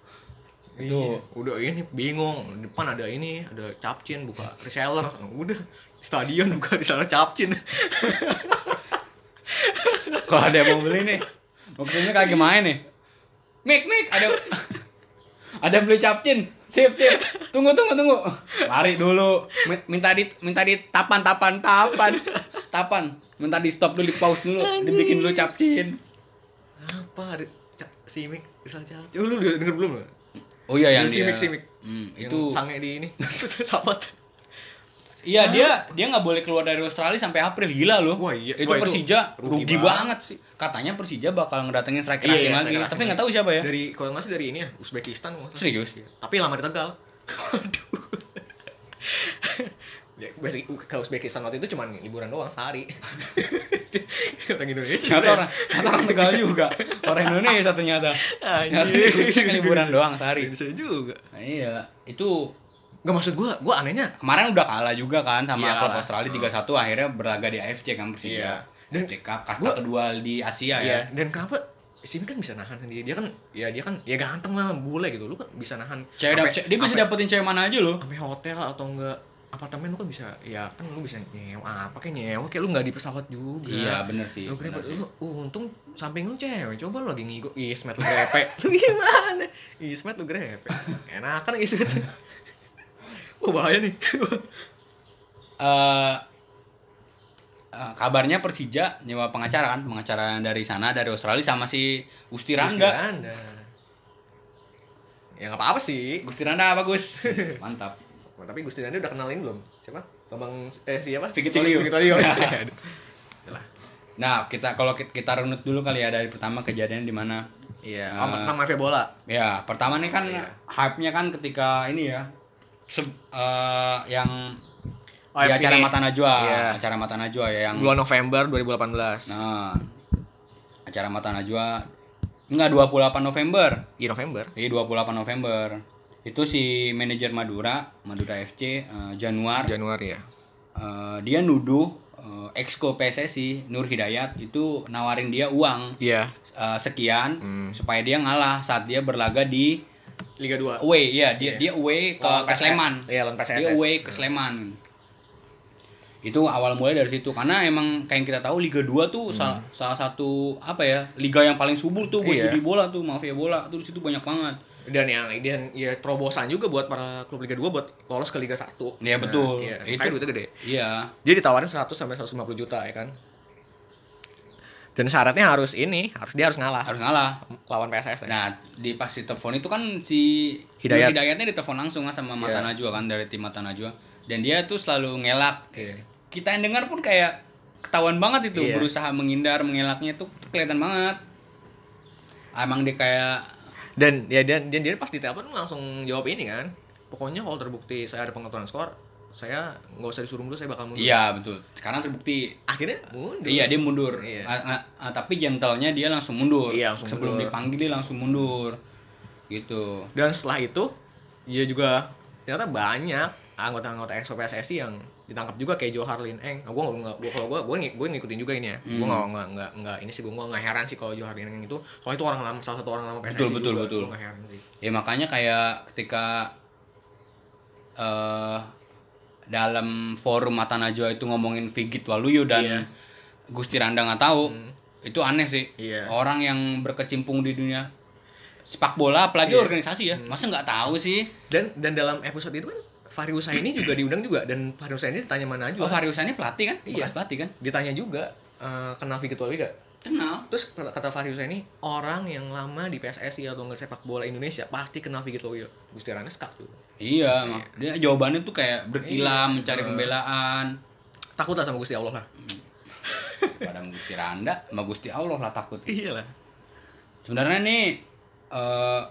Speaker 1: Iya,
Speaker 2: itu
Speaker 1: udah ini bingung Di depan ada ini ada capcin buka reseller udah stadion buka reseller capcin
Speaker 2: kalau ada yang mau beli nih Marco Simic lagi main nih Mik Mik ada ada yang beli capcin sip sip tunggu tunggu tunggu lari dulu Mi- minta di minta di tapan tapan tapan tapan minta di stop dulu di pause dulu dibikin dulu capcin
Speaker 1: apa ada ca- simik reseller capcin Oh, lu udah denger belum lu?
Speaker 2: oh iya yang
Speaker 1: Yang
Speaker 2: dia
Speaker 1: Simic, Simic.
Speaker 2: Hmm,
Speaker 1: yang
Speaker 2: itu
Speaker 1: sange di ini sahabat
Speaker 2: Iya dia dia nggak boleh keluar dari Australia sampai April gila loh.
Speaker 1: Wah, iya.
Speaker 2: Itu
Speaker 1: Wah, itu
Speaker 2: Persija rugi,
Speaker 1: rugi
Speaker 2: banget sih. Katanya Persija bakal ngedatengin
Speaker 1: Iya,
Speaker 2: striker asing lagi,
Speaker 1: Sanghe
Speaker 2: Iya, tapi
Speaker 1: asing.
Speaker 2: nggak tahu siapa ya.
Speaker 1: dari kalau nggak sih dari ini ya Uzbekistan kalau nggak salah.
Speaker 2: Serius?
Speaker 1: Iya. tapi lama di Tegal aduh ya, basic, ke Uzbekistan waktu itu cuman liburan doang sehari orang Indonesia
Speaker 2: Ternyata orang, ternyata orang Tegal juga. Orang Indonesia ternyata. Ternyata
Speaker 1: Anjir.
Speaker 2: Indonesia kan liburan doang sehari.
Speaker 1: Indonesia juga
Speaker 2: Nah, iya, itu
Speaker 1: Gak maksud gue, gue anehnya
Speaker 2: kemarin udah kalah juga kan sama
Speaker 1: Iya,
Speaker 2: klub
Speaker 1: kalah.
Speaker 2: Australia 3-1 akhirnya berlaga di AFC
Speaker 1: Iya.
Speaker 2: kan Persija.
Speaker 1: Dan-
Speaker 2: AFC Cup, kasta
Speaker 1: gua-
Speaker 2: kedua di Asia ya.
Speaker 1: Iya, dan kenapa Sim kan bisa nahan sendiri dia kan ya dia kan ya ganteng lah bule gitu lu kan bisa nahan
Speaker 2: Cewek dap-
Speaker 1: sampai-
Speaker 2: cewek- dia bisa
Speaker 1: sampai-
Speaker 2: dapetin cewek mana aja loh.
Speaker 1: sampai hotel atau enggak apartemen lu kan bisa ya kan lu bisa nyewa apa kayak nyewa kayak lu nggak di pesawat juga
Speaker 2: Iya, bener sih.
Speaker 1: lu
Speaker 2: bener
Speaker 1: grepe
Speaker 2: sih.
Speaker 1: lu uh, untung samping lu cewek coba lu lagi ngigo ismet lu grepe lu gimana ismet lu grepe enakan ismet oh bahaya nih
Speaker 2: eh eh, kabarnya Persija nyewa pengacara kan, pengacara dari sana dari Australia sama si Gusti Randa.
Speaker 1: Anda ya nggak apa-apa sih
Speaker 2: Gusti Randa bagus. Mantap.
Speaker 1: Wah, tapi Gusti Nanda udah kenalin belum siapa Bambang eh siapa
Speaker 2: Sigit
Speaker 1: Sigit-
Speaker 2: Tolio.
Speaker 1: Sigit Tolio ya
Speaker 2: Nah, kita kalau ki- kita runut dulu kali ya dari pertama kejadian di mana.
Speaker 1: iya
Speaker 2: Eh.
Speaker 1: oh, tentang mafia bola
Speaker 2: Ya, pertama nih kan
Speaker 1: Iya.
Speaker 2: hype-nya kan ketika ini ya. se- eh, yang
Speaker 1: Oh,
Speaker 2: di
Speaker 1: yang
Speaker 2: acara
Speaker 1: ini.
Speaker 2: Mata Najwa,
Speaker 1: Iya.
Speaker 2: acara Mata Najwa ya yang
Speaker 1: bulan November 2018
Speaker 2: Nah, acara Mata Najwa enggak 28 November.
Speaker 1: Iya November
Speaker 2: Jadi 28 November itu si manajer Madura, Madura FC eh, Januar
Speaker 1: Januari ya
Speaker 2: eh, dia nuduh eh, exco PSSI Nur Hidayat itu nawarin dia uang
Speaker 1: iya
Speaker 2: eh, sekian
Speaker 1: Hmm.
Speaker 2: supaya dia ngalah saat dia berlaga di
Speaker 1: Liga 2
Speaker 2: away ya dia
Speaker 1: Iya.
Speaker 2: dia away ke, ke Sleman.
Speaker 1: iya lawan PSSS
Speaker 2: Dia away ke Sleman. Itu awal mulai dari situ karena emang kayak yang kita tahu Liga 2 tuh sal- salah satu apa ya, liga yang paling subur tuh buat
Speaker 1: Hmm. Iya.
Speaker 2: judi bola tuh, mafia bola tuh di situ banyak banget.
Speaker 1: dan yang dan ya terobosan juga buat para klub Liga 2 buat lolos ke Liga 1.
Speaker 2: Iya, betul.
Speaker 1: Iya,
Speaker 2: Itu-
Speaker 1: itu duitnya gede.
Speaker 2: Iya.
Speaker 1: Dia ditawarin 100 sampai 150 juta ya kan. Dan syaratnya harus ini, harus dia harus ngalah
Speaker 2: harus ngalah
Speaker 1: lawan PSSS.
Speaker 2: nah di pas ditelepon itu kan si
Speaker 1: Hidayat.
Speaker 2: hidayatnya ditelepon langsung kan sama mata
Speaker 1: Iya.
Speaker 2: najwa kan dari tim mata najwa dan dia tuh selalu ngelak
Speaker 1: Iya.
Speaker 2: kita yang dengar pun kayak ketahuan banget itu
Speaker 1: Iya.
Speaker 2: berusaha menghindar mengelaknya tuh kelihatan banget emang dia kayak
Speaker 1: Dan ya dan, dan dia pas ditelepon langsung jawab ini kan. Pokoknya kalau terbukti saya ada pengaturan skor, saya nggak usah disuruh dulu saya bakal mundur.
Speaker 2: iya betul sekarang terbukti
Speaker 1: Akhirnya mundur.
Speaker 2: Iya dia mundur.
Speaker 1: Iya.
Speaker 2: Ah, ah, ah, tapi gentlenya dia langsung mundur.
Speaker 1: Iya, langsung
Speaker 2: Sebelum
Speaker 1: mundur.
Speaker 2: dipanggil dia langsung mundur. Gitu.
Speaker 1: Dan setelah itu dia juga ternyata banyak anggota-anggota EXO PSSI yang ditangkap juga kayak Joe Harlin Eng. Nah, gue nggak gue kalau gue gue ngikutin juga ini ya.
Speaker 2: Hmm.
Speaker 1: Gue nggak nggak nggak nggak ini sih gue nggak heran sih kalau Joe Harlin Eng itu soalnya itu orang lama salah satu orang lama PSSI
Speaker 2: Betul, betul,
Speaker 1: juga.
Speaker 2: betul.
Speaker 1: Gua nggak heran sih.
Speaker 2: Ya makanya kayak ketika eh dalam forum Mata Najwa itu ngomongin Figit Waluyo dan
Speaker 1: Iya.
Speaker 2: Gusti Randa nggak tahu.
Speaker 1: Hmm.
Speaker 2: Itu aneh sih.
Speaker 1: Iya.
Speaker 2: Orang yang berkecimpung di dunia sepak bola apalagi
Speaker 1: Iya.
Speaker 2: organisasi ya. Masa nggak tahu sih?
Speaker 1: Dan dan dalam episode itu kan Fahri Husaini juga diundang juga dan Fahri Husaini ditanya mana
Speaker 2: Oh,
Speaker 1: juga.
Speaker 2: Fariusannya pelatih kan?
Speaker 1: Iya.
Speaker 2: Bekas pelatih kan?
Speaker 1: Ditanya juga eh, kenal Vicky Tuawi gak?
Speaker 2: Kenal.
Speaker 1: Terus kata kata Fahri Husaini, orang yang lama di PSSI atau nggak sepak bola Indonesia pasti kenal Vicky Tuawi. Gusti Rana skak tuh.
Speaker 2: Iya, emang. dia jawabannya tuh kayak berkilah
Speaker 1: Iya.
Speaker 2: mencari pembelaan.
Speaker 1: Takutlah sama Gusti Allah lah.
Speaker 2: Pada sama Gusti Randa, sama Gusti Allah lah takut.
Speaker 1: Iya lah.
Speaker 2: Sebenarnya nih eh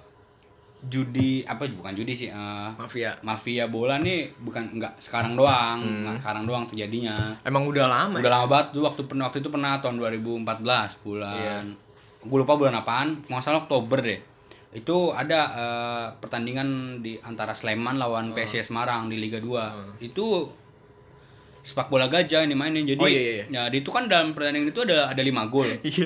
Speaker 2: judi apa bukan judi sih eh,
Speaker 1: Mafia.
Speaker 2: mafia bola nih bukan nggak sekarang doang,
Speaker 1: Hmm.
Speaker 2: nggak sekarang doang terjadinya.
Speaker 1: Emang udah lama
Speaker 2: Udah
Speaker 1: ya?
Speaker 2: lama banget tuh waktu pernah waktu itu pernah tahun 2014 bulan
Speaker 1: Iya.
Speaker 2: gue lupa bulan apaan, kalau nggak salah Oktober deh. Itu ada eh, pertandingan di antara Sleman lawan
Speaker 1: Oh.
Speaker 2: PSIS Semarang di Liga 2. Itu sepak bola gajah ini mainin. Jadi
Speaker 1: Oh, iya, iya,
Speaker 2: ya di itu kan dalam pertandingan itu ada ada 5 gol.
Speaker 1: Iya,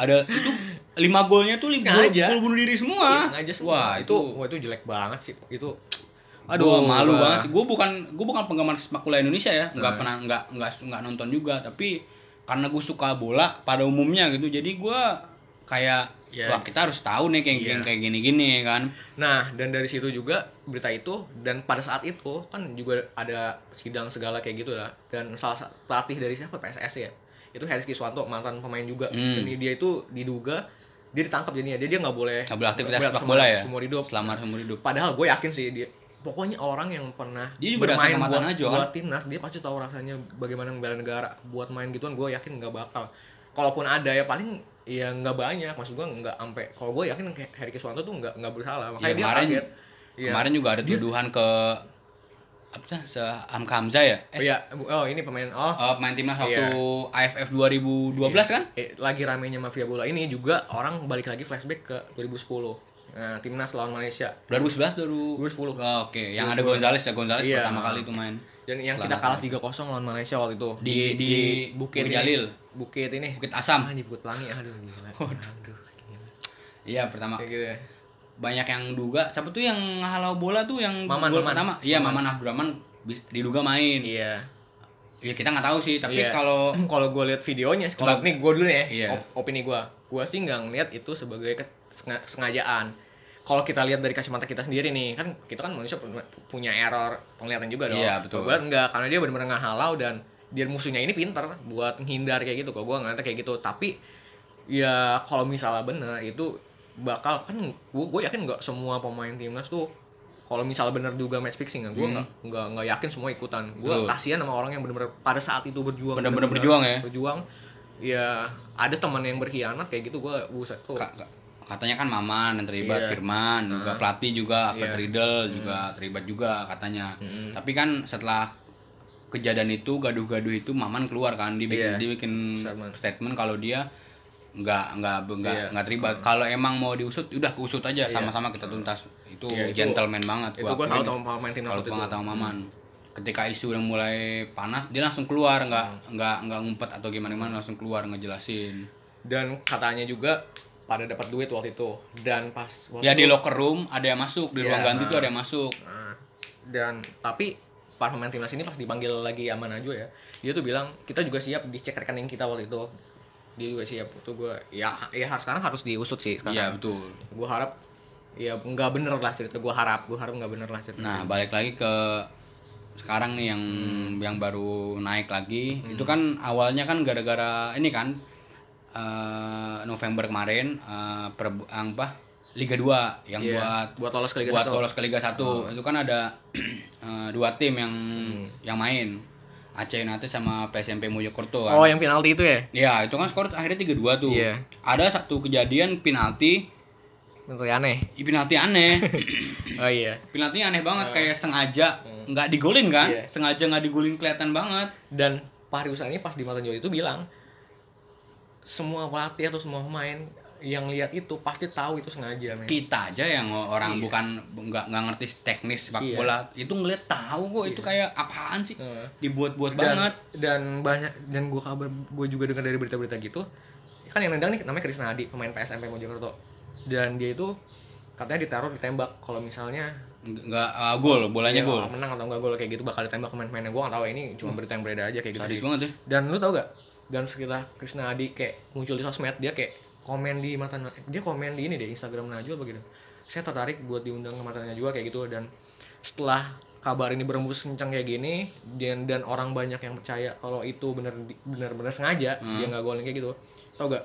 Speaker 2: Ada, ada itu 5 golnya tuh li- gol,
Speaker 1: Sengaja.
Speaker 2: gol bunuh diri semua.
Speaker 1: Iya, sengaja semua.
Speaker 2: Wah,
Speaker 1: itu, wah, itu jelek banget sih. Itu
Speaker 2: Aduh, malu
Speaker 1: gua-
Speaker 2: banget. Gue bukan gue bukan penggemar sepak bola Indonesia ya. Nggak pernah nggak nggak nggak nonton juga, tapi karena gue suka bola pada umumnya gitu. Jadi gue kayak
Speaker 1: Ya.
Speaker 2: wah kita harus tahu nih kayak
Speaker 1: Iya.
Speaker 2: kayak gini-gini kan.
Speaker 1: Nah, dan dari situ juga berita itu dan pada saat itu kan juga ada sidang segala kayak gitu lah. Dan salah satu pelatih dari siapa PSS ya. Itu Haris Kiswanto mantan pemain juga.
Speaker 2: Hmm.
Speaker 1: Dan dia itu diduga dia ditangkap jadinya. Dia dia nggak boleh
Speaker 2: Nggak boleh aktivitas
Speaker 1: nggak
Speaker 2: sepak
Speaker 1: seumur-
Speaker 2: bola ya?
Speaker 1: Seumur hidup.
Speaker 2: Selama seumur hidup.
Speaker 1: Padahal gue yakin sih dia pokoknya orang yang pernah
Speaker 2: Dia juga datang
Speaker 1: bermain
Speaker 2: ke
Speaker 1: buat,
Speaker 2: Matan Najwa,
Speaker 1: buat timnas dia pasti tahu rasanya bagaimana membela negara buat main gituan gue yakin nggak bakal kalaupun ada ya paling ya nggak banyak maksud gue nggak sampai kalau gue yakin kayak Heri Kiswanto tuh nggak nggak bersalah makanya
Speaker 2: Iya,
Speaker 1: dia
Speaker 2: kemarin-
Speaker 1: kaget Iya.
Speaker 2: Kemarin juga ada tuduhan ke apa sih? Se Hamka Hamzah ya? Eh,
Speaker 1: Oh iya, bu- oh ini pemain oh
Speaker 2: eh, pemain timnas waktu AFF 2012 kan?
Speaker 1: eh, lagi ramenya mafia bola ini juga orang balik lagi flashback ke 2010. Nah, timnas lawan Malaysia.
Speaker 2: 2011 dulu.
Speaker 1: 2010.
Speaker 2: Oh, Oke, yang ada Gonzales ya Gonzales
Speaker 1: Iya.
Speaker 2: pertama kali itu main
Speaker 1: Dan yang kita kalah 3-0 lawan Malaysia waktu itu
Speaker 2: Di- di
Speaker 1: Bukit
Speaker 2: Bukit
Speaker 1: ini.
Speaker 2: Jalil.
Speaker 1: Bukit ini.
Speaker 2: Bukit Asam.
Speaker 1: Ah, di Bukit Pelangi. Aduh, gila. Aduh. gila.
Speaker 2: Iya, pertama
Speaker 1: Kayak gitu ya.
Speaker 2: banyak yang duga siapa tuh yang halau bola tuh yang
Speaker 1: Maman,
Speaker 2: gol
Speaker 1: Maman.
Speaker 2: pertama iya Maman, Abdurrahman bis- diduga main
Speaker 1: Iya.
Speaker 2: ya kita nggak tahu sih tapi
Speaker 1: Iya.
Speaker 2: kalau
Speaker 1: kalau gue lihat videonya, sih, kalau nih gue dulu ya,
Speaker 2: Iya.
Speaker 1: op- opini gue, gue sih nggak ngeliat itu sebagai ke- senga- sengajaan. Kalau kita lihat dari kacamata kita sendiri nih, kan kita kan manusia pu- punya error penglihatan juga dong.
Speaker 2: Iya, betul.
Speaker 1: Gue enggak, karena dia benar-benar nggak halau dan dia musuhnya ini pinter buat menghindar kayak gitu. Kalau gue ngeliatnya kayak gitu, tapi ya kalau misalnya bener itu bakal kan gue yakin nggak semua pemain timnas tuh kalau misalnya bener juga match fixing gue nggak nggak nggak yakin semua ikutan gue
Speaker 2: Hmm. Betul.
Speaker 1: kasihan sama orang yang bener-bener pada saat itu berjuang
Speaker 2: Bener-bener
Speaker 1: bener-bener
Speaker 2: berjuang ya?
Speaker 1: berjuang ya ada teman yang berkhianat kayak gitu gua buset tuh
Speaker 2: ka- ka- katanya kan Maman yang terlibat
Speaker 1: Iya.
Speaker 2: Firman juga pelatih juga Alfred
Speaker 1: Iya.
Speaker 2: Riedel juga terlibat juga katanya
Speaker 1: Mm-mm.
Speaker 2: tapi kan setelah kejadian itu gaduh-gaduh itu Maman keluar kan dia bikin,
Speaker 1: Iya.
Speaker 2: dia bikin
Speaker 1: Statement.
Speaker 2: statement, kalau dia nggak nggak nggak
Speaker 1: Iya.
Speaker 2: nggak terlibat kalau emang mau diusut udah keusut aja sama-sama kita tuntas itu
Speaker 1: Iya, itu-
Speaker 2: gentleman banget
Speaker 1: itu gua
Speaker 2: akuin
Speaker 1: tahu sama pemain timnas
Speaker 2: kalau
Speaker 1: waktu
Speaker 2: gua
Speaker 1: itu Hmm.
Speaker 2: nggak tahu maman ketika isu udah mulai panas dia langsung keluar nggak
Speaker 1: Hmm.
Speaker 2: nggak nggak ngumpet atau gimana gimana langsung keluar ngejelasin
Speaker 1: dan katanya juga pada dapat duit waktu itu dan pas waktu
Speaker 2: ya di
Speaker 1: itu-
Speaker 2: locker room ada yang masuk di
Speaker 1: Iya,
Speaker 2: ruang ganti
Speaker 1: nah.
Speaker 2: tuh ada yang masuk
Speaker 1: Nah, dan tapi para pemain timnas ini pas dipanggil lagi sama Najwa ya dia tuh bilang kita juga siap dicek rekening kita waktu itu dia juga siap itu gua ya ya sekarang harus diusut sih sekarang
Speaker 2: iya betul
Speaker 1: gue harap ya nggak bener lah cerita gue harap gue harap nggak bener lah cerita
Speaker 2: nah balik lagi ke sekarang nih yang
Speaker 1: Hmm.
Speaker 2: yang baru naik lagi itu kan awalnya kan gara-gara ini kan eh, eh, November kemarin eh, per apa Liga 2 yang
Speaker 1: Iya,
Speaker 2: buat
Speaker 1: buat lolos ke Liga Oh.
Speaker 2: buat
Speaker 1: 1.
Speaker 2: lolos ke Liga 1 itu kan ada eh, dua tim yang
Speaker 1: Hmm.
Speaker 2: yang main Aceh United sama PSMP Mojokerto kan.
Speaker 1: Oh, yang penalti itu ya?
Speaker 2: Ya, itu kan skor akhirnya 3-2 tuh.
Speaker 1: Iya.
Speaker 2: Ada satu kejadian penalti,
Speaker 1: Bentuk aneh.
Speaker 2: ih, penalti aneh.
Speaker 1: Oh iya.
Speaker 2: penalti aneh banget kayak sengaja nggak digolin kan?
Speaker 1: Hmm. Iya. Hmm.
Speaker 2: Sengaja nggak digolin kelihatan banget.
Speaker 1: Dan Pak Riusan ini pas di Matanjol itu bilang semua pelatih atau semua pemain yang lihat itu pasti tahu itu sengaja, men.
Speaker 2: Kita aja yang orang bukan nggak nggak ngerti teknis sepak
Speaker 1: Iya.
Speaker 2: bola, itu ngeliat tahu kok itu kayak apaan sih?
Speaker 1: Heeh.
Speaker 2: Dibuat-buat
Speaker 1: dan,
Speaker 2: banget.
Speaker 1: dan banyak dan gue kabar gue juga dengar dari berita-berita gitu kan yang nendang nih namanya Krisna Adi pemain PSMP Mojokerto dan dia itu katanya ditaruh ditembak kalau misalnya
Speaker 2: Nggak ah, gol, bolanya
Speaker 1: dia
Speaker 2: gol.
Speaker 1: menang atau enggak gol kayak gitu bakal ditembak pemain-pemainnya gue gak tahu ini cuma berita yang beredar aja kayak gitu
Speaker 2: Sadis banget ya.
Speaker 1: dan lu tau gak dan sekitar Krisna Adi kayak muncul di sosmed dia kayak komen di mata eh, dia komen di ini deh Instagram Najwa begitu saya tertarik buat diundang ke matanya juga kayak gitu dan setelah kabar ini berembus kencang kayak gini dan dan orang banyak yang percaya kalau itu bener bener bener sengaja dia nggak golin kayak gitu tau gak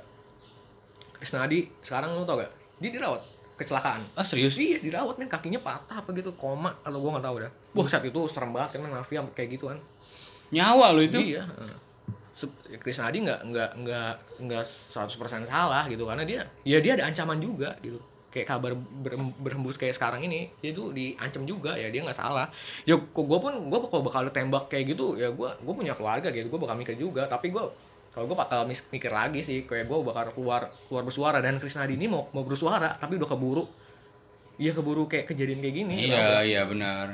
Speaker 1: Krisna Adi sekarang lu tau gak dia dirawat kecelakaan
Speaker 2: Ah, serius?
Speaker 1: iya dirawat men kakinya patah apa gitu koma kalau gua nggak tahu dah wah saat itu serem banget kan men, mafia kayak gitu kan
Speaker 2: Nyawa lo itu.
Speaker 1: Iya. heeh. Se- Krisna Adi nggak nggak nggak nggak 100% salah gitu karena dia ya dia ada ancaman juga gitu kayak kabar berem- berhembus kayak sekarang ini dia tuh diancam juga ya dia nggak salah ya kok gue pun gue kalau bakal tembak kayak gitu ya gue gue punya keluarga gitu gue bakal mikir juga tapi gue kalau gue bakal mis- mikir lagi sih kayak gue bakal keluar keluar bersuara dan Krisna Adi ini mau mau bersuara tapi udah keburu Iya keburu kayak kejadian kayak gini
Speaker 2: Iya, iya benar.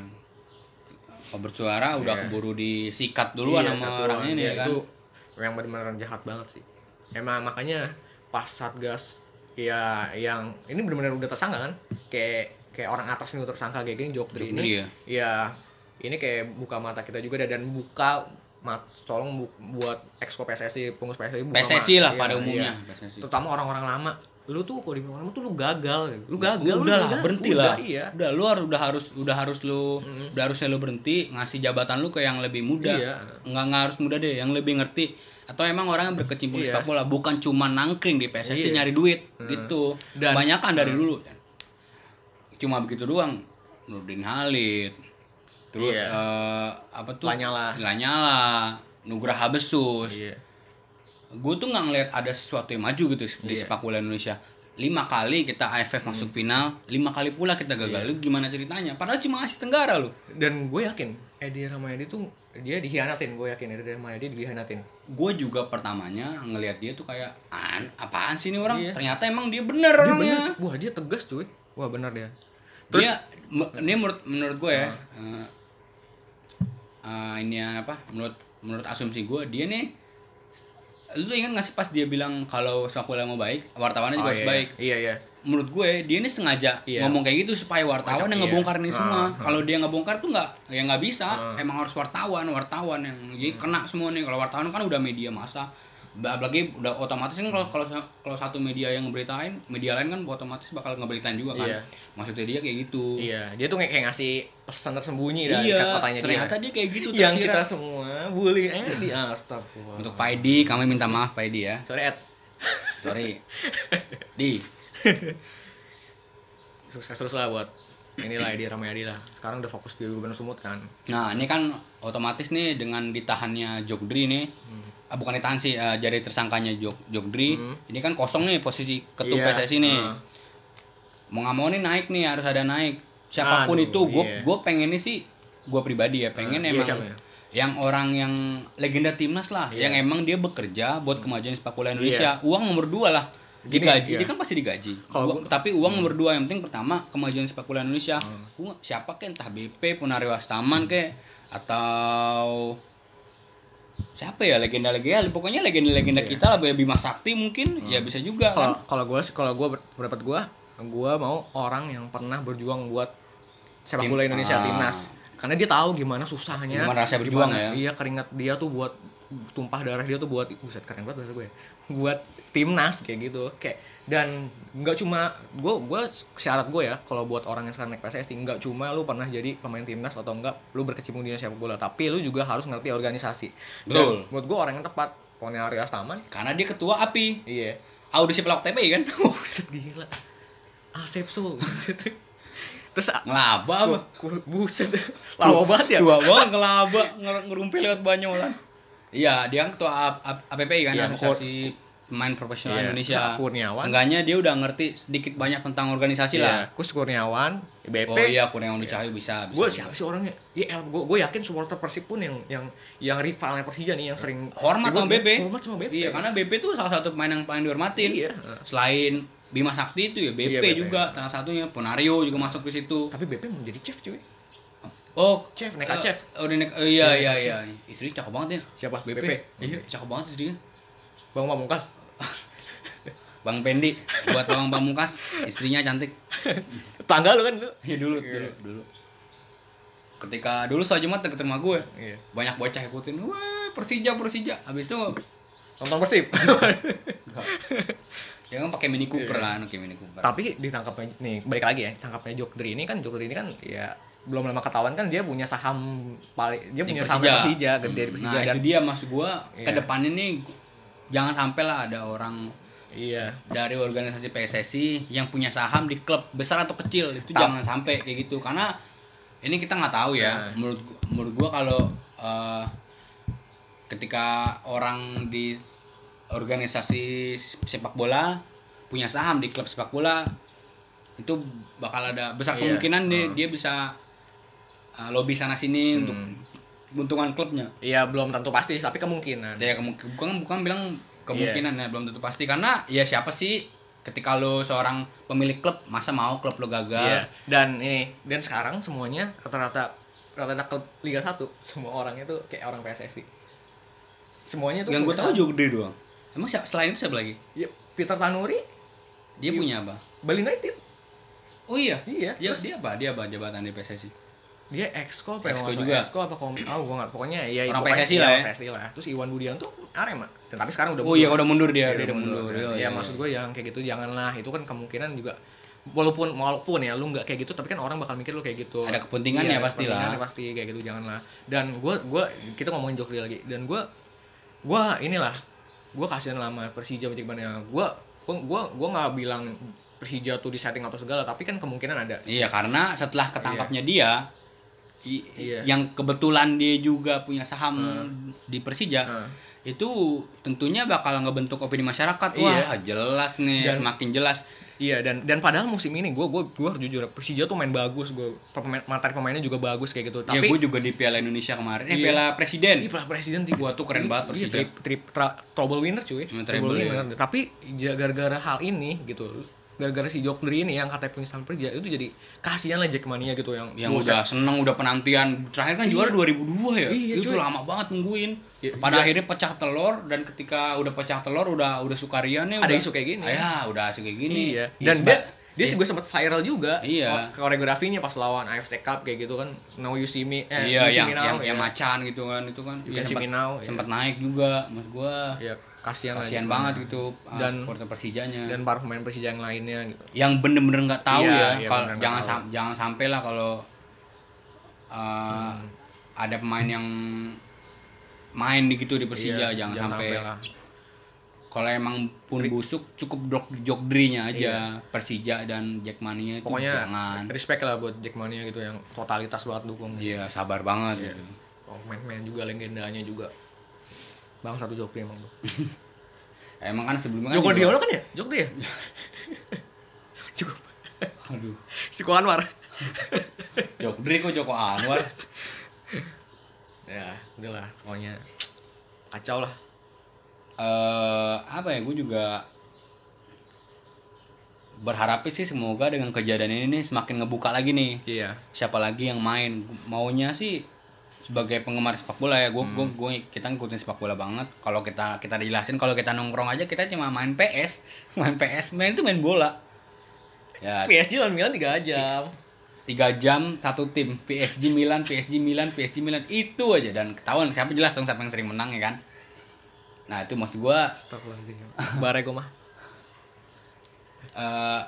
Speaker 2: Kalau bersuara udah keburu disikat duluan
Speaker 1: Iya,
Speaker 2: sama
Speaker 1: satu
Speaker 2: orang
Speaker 1: Iya,
Speaker 2: ini ya kan.
Speaker 1: itu yang benar-benar jahat banget sih emang makanya pas satgas ya yang ini benar-benar udah tersangka kan kayak kayak orang atas ini udah tersangka kayak gini Jokdri ini
Speaker 2: Iya.
Speaker 1: ya ini kayak buka mata kita juga dah, dan buka mat colong bu- buat exco PSSI pengurus PSSI buka mata.
Speaker 2: PSSI lah
Speaker 1: Iya,
Speaker 2: pada
Speaker 1: iya.
Speaker 2: umumnya, PSSI.
Speaker 1: terutama orang-orang lama lu tuh kalau dibilang orang lama tuh lu gagal lu gagal
Speaker 2: Udah,
Speaker 1: lu
Speaker 2: lah,
Speaker 1: gagal.
Speaker 2: berhenti
Speaker 1: Udah,
Speaker 2: lah.
Speaker 1: iya
Speaker 2: Udah lu harus udah harus udah harus lu udah harusnya lu berhenti ngasih jabatan lu ke yang lebih muda.
Speaker 1: Iya.
Speaker 2: Enggak enggak harus muda deh, yang lebih ngerti atau emang orang yang berkecimpung di
Speaker 1: Iya. Mm.
Speaker 2: sepak bola bukan cuma nangkring di PSSI nyari duit gitu.
Speaker 1: Dan- Mm.
Speaker 2: Kebanyakan dari dulu. kan. Cuma begitu doang. Nurdin Halid. Terus
Speaker 1: Iya.
Speaker 2: eh, apa tuh?
Speaker 1: Lanyala.
Speaker 2: Lanyala, Nugraha Besus.
Speaker 1: iya
Speaker 2: gue tuh nggak ngeliat ada sesuatu yang maju gitu di
Speaker 1: Iya.
Speaker 2: sepak bola Indonesia lima kali kita AFF
Speaker 1: Hmm.
Speaker 2: masuk final lima kali pula kita gagal
Speaker 1: Iya.
Speaker 2: lu gimana ceritanya padahal cuma Asia Tenggara lu
Speaker 1: dan gue yakin Edi Ramayadi tuh dia dihianatin gue yakin Edi Ramayadi dihianatin
Speaker 2: gue juga pertamanya ngelihat dia tuh kayak an apaan sih ini orang
Speaker 1: Iya.
Speaker 2: ternyata emang dia bener
Speaker 1: dia
Speaker 2: orangnya
Speaker 1: bener wah dia tegas cuy wah bener dia
Speaker 2: terus dia, me- ini menurut menurut gue ya
Speaker 1: Ah.
Speaker 2: eh, eh, ini apa menurut menurut asumsi gue dia nih lu ingat nggak sih pas dia bilang kalau sepak bola mau baik wartawannya juga
Speaker 1: Oh,
Speaker 2: harus
Speaker 1: iya,
Speaker 2: baik
Speaker 1: iya iya
Speaker 2: menurut gue dia ini sengaja
Speaker 1: Iya.
Speaker 2: ngomong kayak gitu supaya
Speaker 1: Macam-
Speaker 2: wartawan yang
Speaker 1: iya.
Speaker 2: ngebongkar ini
Speaker 1: Ah,
Speaker 2: semua. Kalau dia ngebongkar tuh nggak ya nggak bisa. Emang harus wartawan, wartawan yang
Speaker 1: Hmm.
Speaker 2: jadi kena semua nih. Kalau wartawan kan udah media massa. Ba- Apalagi udah otomatis kan kalau kalau sa- kalau satu media yang ngeberitain, media lain kan otomatis bakal ngeberitain juga kan.
Speaker 1: Iya.
Speaker 2: Maksudnya dia kayak gitu.
Speaker 1: iya dia tuh kayak, kayak ngasih pesan tersembunyi dari
Speaker 2: Iya,
Speaker 1: katanya dia
Speaker 2: ternyata dia kayak gitu
Speaker 1: yang kita
Speaker 2: tersirat.
Speaker 1: semua bully Edi astagfirullah
Speaker 2: Untuk Pak Edi, kami minta maaf Pak Edi ya.
Speaker 1: sorry Ed
Speaker 2: Sorry. Di.
Speaker 1: sukses terus lah buat inilah Edi Ramayadi lah sekarang udah fokus di Gubernur Sumut kan
Speaker 2: Nah, ini kan otomatis nih dengan ditahannya Jogdri nih.
Speaker 1: Hmm.
Speaker 2: ah, bukan ditahan sih, eh, jadi tersangkanya Jog Jogdri. Ini kan kosong nih posisi ketum
Speaker 1: Iya,
Speaker 2: PSSI nih.
Speaker 1: ah.
Speaker 2: Mau nggak mau nih naik nih, harus ada naik. Siapapun
Speaker 1: Aduh,
Speaker 2: itu, gue
Speaker 1: iya.
Speaker 2: gue pengen nih sih gue pribadi ya pengen
Speaker 1: Ah, iya,
Speaker 2: emang
Speaker 1: siapa ya? Iya.
Speaker 2: yang orang yang legenda timnas lah, yang emang dia bekerja buat kemajuan sepak bola Indonesia. Uang nomor dua lah.
Speaker 1: Gini,
Speaker 2: Digaji,
Speaker 1: iya.
Speaker 2: dia kan pasti digaji.
Speaker 1: Kalau Hmm.
Speaker 2: Uang- tapi uang nomor dua yang penting pertama kemajuan sepak bola Indonesia. Gua nggak- siapa kek entah BP, Punari
Speaker 1: Hmm.
Speaker 2: Wastaman kek atau siapa ya legenda-legenda pokoknya legenda-legenda kita lah kayak Bima Sakti mungkin ya bisa
Speaker 1: Iya.
Speaker 2: juga
Speaker 1: Hmm. kalau kalau
Speaker 2: kan.
Speaker 1: gue kalau gue pendapat gue gue mau orang yang pernah berjuang buat sepak
Speaker 2: Tim-
Speaker 1: bola Indonesia
Speaker 2: ah.
Speaker 1: timnas karena dia tahu gimana susahnya
Speaker 2: Gimana rasanya berjuang ya.
Speaker 1: iya keringat dia tuh buat tumpah darah dia tuh buat buset keren banget bahasa gue ya. buat timnas kayak gitu kayak dan nggak cuma gue gue syarat gue ya kalau buat orang yang sekarang naik PSSI nggak cuma lu pernah jadi pemain timnas atau enggak lu berkecimpung di dunia sepak bola tapi lu juga harus ngerti organisasi Dan
Speaker 2: Betul.
Speaker 1: menurut gue orang yang tepat Ponnya Ari Astaman.
Speaker 2: Karena dia ketua API.
Speaker 1: Iya.
Speaker 2: Audisi pelawak TPI kan.
Speaker 1: Buset gila. Asep so. Buset. Terus a-
Speaker 2: ngelaba apa?
Speaker 1: ku- ku- buset. Lama banget ya.
Speaker 2: Tua banget ngelaba, nger- ngerumpi lewat banyolan. Iya, dia kan ketua A- A- APPI kan
Speaker 1: Iya,
Speaker 2: asosiasi pemain profesional
Speaker 1: Iya,
Speaker 2: Indonesia.
Speaker 1: terus Kurniawan.
Speaker 2: Seenggaknya dia udah ngerti sedikit banyak tentang organisasi
Speaker 1: Iya,
Speaker 2: lah.
Speaker 1: Kus Kurniawan, BP.
Speaker 2: Oh iya, Kurniawan Cahyo bisa. bisa
Speaker 1: Gue
Speaker 2: juga.
Speaker 1: siapa sih orangnya? Ya, gue gue yakin supporter Persib pun yang yang yang rivalnya Persija nih yang sering
Speaker 2: Hormat
Speaker 1: Gua-
Speaker 2: sama BP.
Speaker 1: Hormat sama BP.
Speaker 2: Iya, karena BP tuh salah satu pemain yang paling dihormatin.
Speaker 1: Iya.
Speaker 2: Selain Bima Sakti itu ya BP,
Speaker 1: Iya, BP.
Speaker 2: juga salah satunya Ponario juga masuk ke situ.
Speaker 1: Tapi BP mau jadi chef cuy.
Speaker 2: Oh,
Speaker 1: Chef, naik
Speaker 2: eh,
Speaker 1: chef.
Speaker 2: Udah naik, eh, iya iya iya. Istri cakep banget ya.
Speaker 1: Siapa? BP.
Speaker 2: Iya, cakep banget istrinya.
Speaker 1: Bang Pamungkas.
Speaker 2: Bang Pendi buat Bang Pamungkas, istrinya cantik.
Speaker 1: Tanggal lu kan lu.
Speaker 2: Iya dulu, dulu, dulu. Ketika dulu soal Jumat deket rumah gue,
Speaker 1: Iya.
Speaker 2: banyak bocah ikutin, wah Persija Persija. Habis itu
Speaker 1: Nonton Persib.
Speaker 2: ya kan pakai Mini Cooper
Speaker 1: Iya.
Speaker 2: lah, pakai Mini Cooper.
Speaker 1: tapi ditangkapnya nih balik lagi ya tangkapnya Jokdri ini kan Jokdri ini kan ya belum lama ketahuan kan dia punya saham paling dia
Speaker 2: Di
Speaker 1: punya saham dari Persija gede dari Persija
Speaker 2: nah,
Speaker 1: dan
Speaker 2: itu dia maksud gua
Speaker 1: Iya.
Speaker 2: ke depannya nih jangan sampai lah ada orang
Speaker 1: iya
Speaker 2: dari organisasi PSSI yang punya saham di klub besar atau kecil itu
Speaker 1: Tap.
Speaker 2: jangan sampai kayak gitu karena ini kita nggak tahu ya
Speaker 1: Nah.
Speaker 2: menurut gu- menurut gua kalau eh, ketika orang di organisasi sepak bola punya saham di klub sepak bola itu bakal ada besar
Speaker 1: Iya.
Speaker 2: kemungkinan dia,
Speaker 1: Hmm.
Speaker 2: dia bisa eh, lobby sana sini untuk
Speaker 1: Hmm.
Speaker 2: keuntungan klubnya
Speaker 1: iya belum tentu pasti tapi kemungkinan
Speaker 2: ada ya kemungkinan bukan bukan bilang kemungkinan
Speaker 1: Iya.
Speaker 2: ya belum tentu pasti karena ya siapa sih ketika lo seorang pemilik klub masa mau klub lo
Speaker 1: iya
Speaker 2: gagal
Speaker 1: dan ini dan sekarang semuanya rata-rata rata-rata klub Liga 1 semua orangnya tuh kayak orang PSSI semuanya tuh
Speaker 2: yang gue
Speaker 1: punya
Speaker 2: tahu
Speaker 1: saham.
Speaker 2: juga gede doang emang siapa selain itu siapa lagi
Speaker 1: Iya, Peter Tanuri
Speaker 2: dia
Speaker 1: Iya.
Speaker 2: punya apa
Speaker 1: Bali United
Speaker 2: oh iya
Speaker 1: iya
Speaker 2: dia
Speaker 1: terus
Speaker 2: dia apa dia apa jabatan di PSSI
Speaker 1: dia exco apa ya, kalau
Speaker 2: Exco
Speaker 1: nggak
Speaker 2: juga.
Speaker 1: salah. exco apa kom ah gua nggak pokoknya ya
Speaker 2: Orang
Speaker 1: pokoknya
Speaker 2: PSSI
Speaker 1: iya,
Speaker 2: lah ya.
Speaker 1: orang PSSI lah terus Iwan Budianto Arema Dan tapi sekarang udah
Speaker 2: oh iya udah mundur
Speaker 1: Iya,
Speaker 2: dia
Speaker 1: udah
Speaker 2: dia udah mundur,
Speaker 1: ya,
Speaker 2: Iya, iya,
Speaker 1: maksud
Speaker 2: iya.
Speaker 1: gue yang kayak gitu janganlah itu kan kemungkinan juga walaupun walaupun ya lu nggak kayak gitu tapi kan orang bakal mikir lu kayak gitu
Speaker 2: Ada kepentingannya
Speaker 1: ada
Speaker 2: pastilah.
Speaker 1: kepentingannya pasti kayak gitu janganlah dan gue gue kita ngomongin Jokri lagi dan gue gue inilah gue kasihan lama Persija macam gimana gue gue gue gue nggak bilang Persija tuh di setting atau segala tapi kan kemungkinan ada
Speaker 2: Iya, karena setelah ketangkapnya dia i-
Speaker 1: Iya. Hmm.
Speaker 2: yang kebetulan dia juga punya saham di Persija
Speaker 1: Nah,
Speaker 2: itu tentunya bakal ngebentuk opini masyarakat wah jelas nih
Speaker 1: Iya. Dan-
Speaker 2: semakin jelas
Speaker 1: Iya dan dan padahal musim ini gue gue gue harus jujur Persija tuh main bagus gue pemain materi pemainnya juga bagus kayak gitu
Speaker 2: Tapi,
Speaker 1: tapi
Speaker 2: gue Ya, juga di Piala Indonesia kemarin, eh
Speaker 1: Iya.
Speaker 2: Piala Presiden.
Speaker 1: ini pra- presiden tiga
Speaker 2: Gua tuh keren banget
Speaker 1: Iya,
Speaker 2: Persija.
Speaker 1: trip, trip tra- trouble winner cuy
Speaker 2: Emang
Speaker 1: trouble
Speaker 2: trouble,
Speaker 1: winner tapi ja- gara-gara hal ini gitu gara-gara si Jokdri ini yang katanya punya saham Persija itu jadi kasihan lah Jackmania gitu yang
Speaker 2: Yang
Speaker 1: buset.
Speaker 2: udah seneng, udah penantian. Terakhir kan juara 2002 ya.
Speaker 1: Iya,
Speaker 2: itu
Speaker 1: cuy.
Speaker 2: lama banget nungguin.
Speaker 1: Iya,
Speaker 2: Pada
Speaker 1: iya.
Speaker 2: akhirnya pecah telur dan ketika udah pecah telur udah udah sukariannya
Speaker 1: Ada
Speaker 2: udah,
Speaker 1: isu kayak gini.
Speaker 2: Ah, Ya, udah isu kayak gini.
Speaker 1: iya
Speaker 2: Ya,
Speaker 1: dan
Speaker 2: seba-
Speaker 1: dia dia juga sempat viral juga
Speaker 2: Iya.
Speaker 1: Oh, koreografinya pas lawan AFC Cup kayak gitu kan Now You See Me eh, You
Speaker 2: iya
Speaker 1: See
Speaker 2: yang,
Speaker 1: Me Now
Speaker 2: yang, yang
Speaker 1: ya.
Speaker 2: macan gitu kan itu kan
Speaker 1: You Can
Speaker 2: Iya,
Speaker 1: See Me
Speaker 2: sempat,
Speaker 1: Now, iya.
Speaker 2: sempat naik juga maksud gua
Speaker 1: Iya, kasihan lah
Speaker 2: kasihan
Speaker 1: Jackmania.
Speaker 2: banget gitu kan. dan
Speaker 1: Dan-
Speaker 2: supporter Persijanya
Speaker 1: dan para pemain Persija yang lainnya gitu
Speaker 2: yang bener-bener nggak tahu
Speaker 1: Iya,
Speaker 2: ya
Speaker 1: iya,
Speaker 2: kalau
Speaker 1: bener-bener
Speaker 2: jangan
Speaker 1: nggak tahu. Hmm.
Speaker 2: sam- jangan sampai lah kalau uh, ada pemain yang main di gitu di Persija
Speaker 1: Iya,
Speaker 2: jangan, sampai,
Speaker 1: lah.
Speaker 2: kalau emang pun busuk cukup drop jogdrinya aja Persija dan Jackmania
Speaker 1: Iya.
Speaker 2: itu
Speaker 1: pokoknya
Speaker 2: jangan
Speaker 1: respect lah buat Jackmania gitu yang totalitas banget dukung
Speaker 2: iya sabar banget gitu.
Speaker 1: pemain-pemain Oh, juga legendanya juga bang satu Jokri emang tuh
Speaker 2: emang kan sebelumnya kan
Speaker 1: Joko
Speaker 2: juga-
Speaker 1: Diono kan ya Jokri ya Joko
Speaker 2: aduh
Speaker 1: Joko Anwar
Speaker 2: jogdri kok Joko Anwar
Speaker 1: ya udahlah pokoknya kacau lah
Speaker 2: eh apa ya gue juga berharap sih semoga dengan kejadian ini nih semakin ngebuka lagi nih
Speaker 1: iya
Speaker 2: siapa lagi yang main maunya sih sebagai penggemar sepak bola ya gue kita ngikutin sepak bola banget kalau kita kita dijelasin kalau kita nongkrong aja kita cuma main PS main PS main itu main bola ya
Speaker 1: PSG lawan Milan 3 jam
Speaker 2: tiga jam satu tim PSG Milan PSG Milan PSG Milan itu aja dan ketahuan siapa jelas dong siapa yang sering menang ya kan nah itu maksud gue
Speaker 1: stop lah sih barego mah
Speaker 2: eh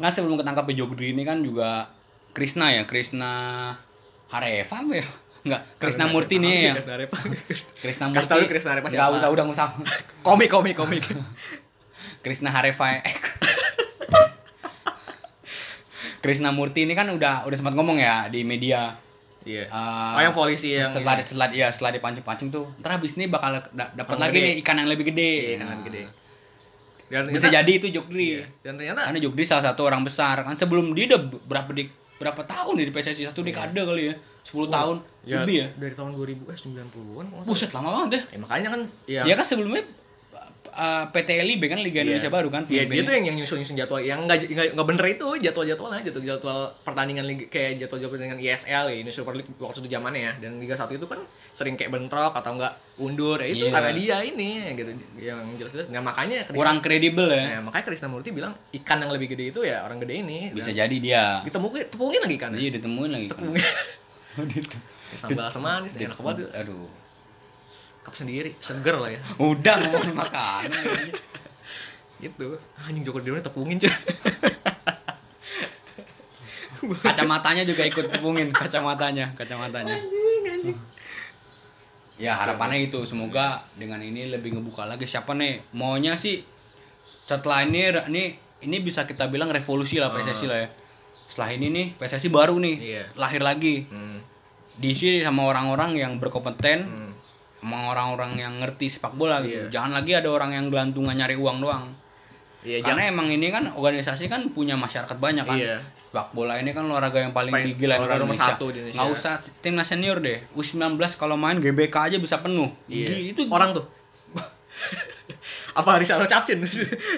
Speaker 2: nah sebelum ketangkap di Jogdri ini kan juga Krishna ya Krishna Hareva apa ya Enggak, Krisnamurti nih ya. Krisnamurti.
Speaker 1: Kasih tau lu Krisnamurti siapa?
Speaker 2: Enggak usah, udah usah.
Speaker 1: komik komik komik
Speaker 2: Krisna Harefai. Krisnamurti ini kan udah udah sempat ngomong ya di media.
Speaker 1: iya
Speaker 2: Eh,
Speaker 1: oh yang polisi yang
Speaker 2: setelah setelah ya setelah dipancing-pancing tuh ntar habis ini bakal da- dapat
Speaker 1: Ikan
Speaker 2: lagi
Speaker 1: gede.
Speaker 2: nih ikan yang lebih gede
Speaker 1: Iya, ikan yang lebih gede. dan
Speaker 2: Nah, bisa
Speaker 1: ternyata, iya.
Speaker 2: jadi Kan? itu Jogdri
Speaker 1: dan ternyata
Speaker 2: karena Jogdri salah satu orang besar kan sebelum dia udah berapa di berapa tahun ya di PSSI
Speaker 1: Iya.
Speaker 2: satu dekade kali ya 10 tahun
Speaker 1: ya,
Speaker 2: lebih ya
Speaker 1: dari tahun 2000 eh 90-an kalau nggak salah.
Speaker 2: buset lama banget deh
Speaker 1: ya makanya kan ya
Speaker 2: dia kan sebelumnya uh, PT LIB kan
Speaker 1: Iya.
Speaker 2: Liga Indonesia Baru kan
Speaker 1: Iya, dia
Speaker 2: pemimpinnya.
Speaker 1: tuh yang yang nyusun-nyusun jadwal yang enggak enggak bener itu jadwal-jadwal aja jadwal jadwal pertandingan liga- kayak jadwal-jadwal pertandingan ISL ya, Indonesia Super League waktu itu zamannya ya. Dan Liga 1 itu kan sering kayak bentrok atau enggak undur. Ya itu
Speaker 2: Iya.
Speaker 1: karena dia ini ya gitu yang jelas-jelas. Nah, makanya Krisna,
Speaker 2: kurang kredibel ya
Speaker 1: nah, makanya Krisnamurti bilang ikan yang lebih gede itu ya orang gede ini.
Speaker 2: bisa jadi dia
Speaker 1: ditemukan tepungin lagi ikannya.
Speaker 2: jadi ditemuin lagi kan
Speaker 1: Tepungin. Oh, gitu. Sambal asam manis enak banget.
Speaker 2: aduh
Speaker 1: Kap sendiri, seger lah ya.
Speaker 2: udah ngomongin makanan
Speaker 1: Gitu. Anjing Joko Driono tepungin cuy.
Speaker 2: kacamatanya juga ikut tepungin kacamatanya kacamatanya
Speaker 1: Anjing, anjing.
Speaker 2: ya harapannya itu semoga dengan ini lebih ngebuka lagi siapa nih maunya sih setelah ini ini ini bisa kita bilang revolusi lah PSSI lah ya setelah ini nih PSSI baru nih
Speaker 1: Ah. Iya.
Speaker 2: lahir lagi
Speaker 1: Hmm.
Speaker 2: diisi sama orang-orang yang berkompeten
Speaker 1: hmm.
Speaker 2: sama orang-orang yang ngerti sepak bola gitu
Speaker 1: Iya.
Speaker 2: jangan lagi ada orang yang gelantungan nyari uang doang
Speaker 1: Iya, jangan
Speaker 2: karena emang ini kan organisasi kan punya masyarakat banyak kan
Speaker 1: Iya.
Speaker 2: sepak bola ini kan olahraga yang paling
Speaker 1: Paling-
Speaker 2: digila
Speaker 1: olahraga nomor satu di Indonesia.
Speaker 2: nggak usah timnas senior deh U19 kalau main GBK aja bisa penuh Gi- itu
Speaker 1: Iya. orang tuh. Apa Rizal Capcin?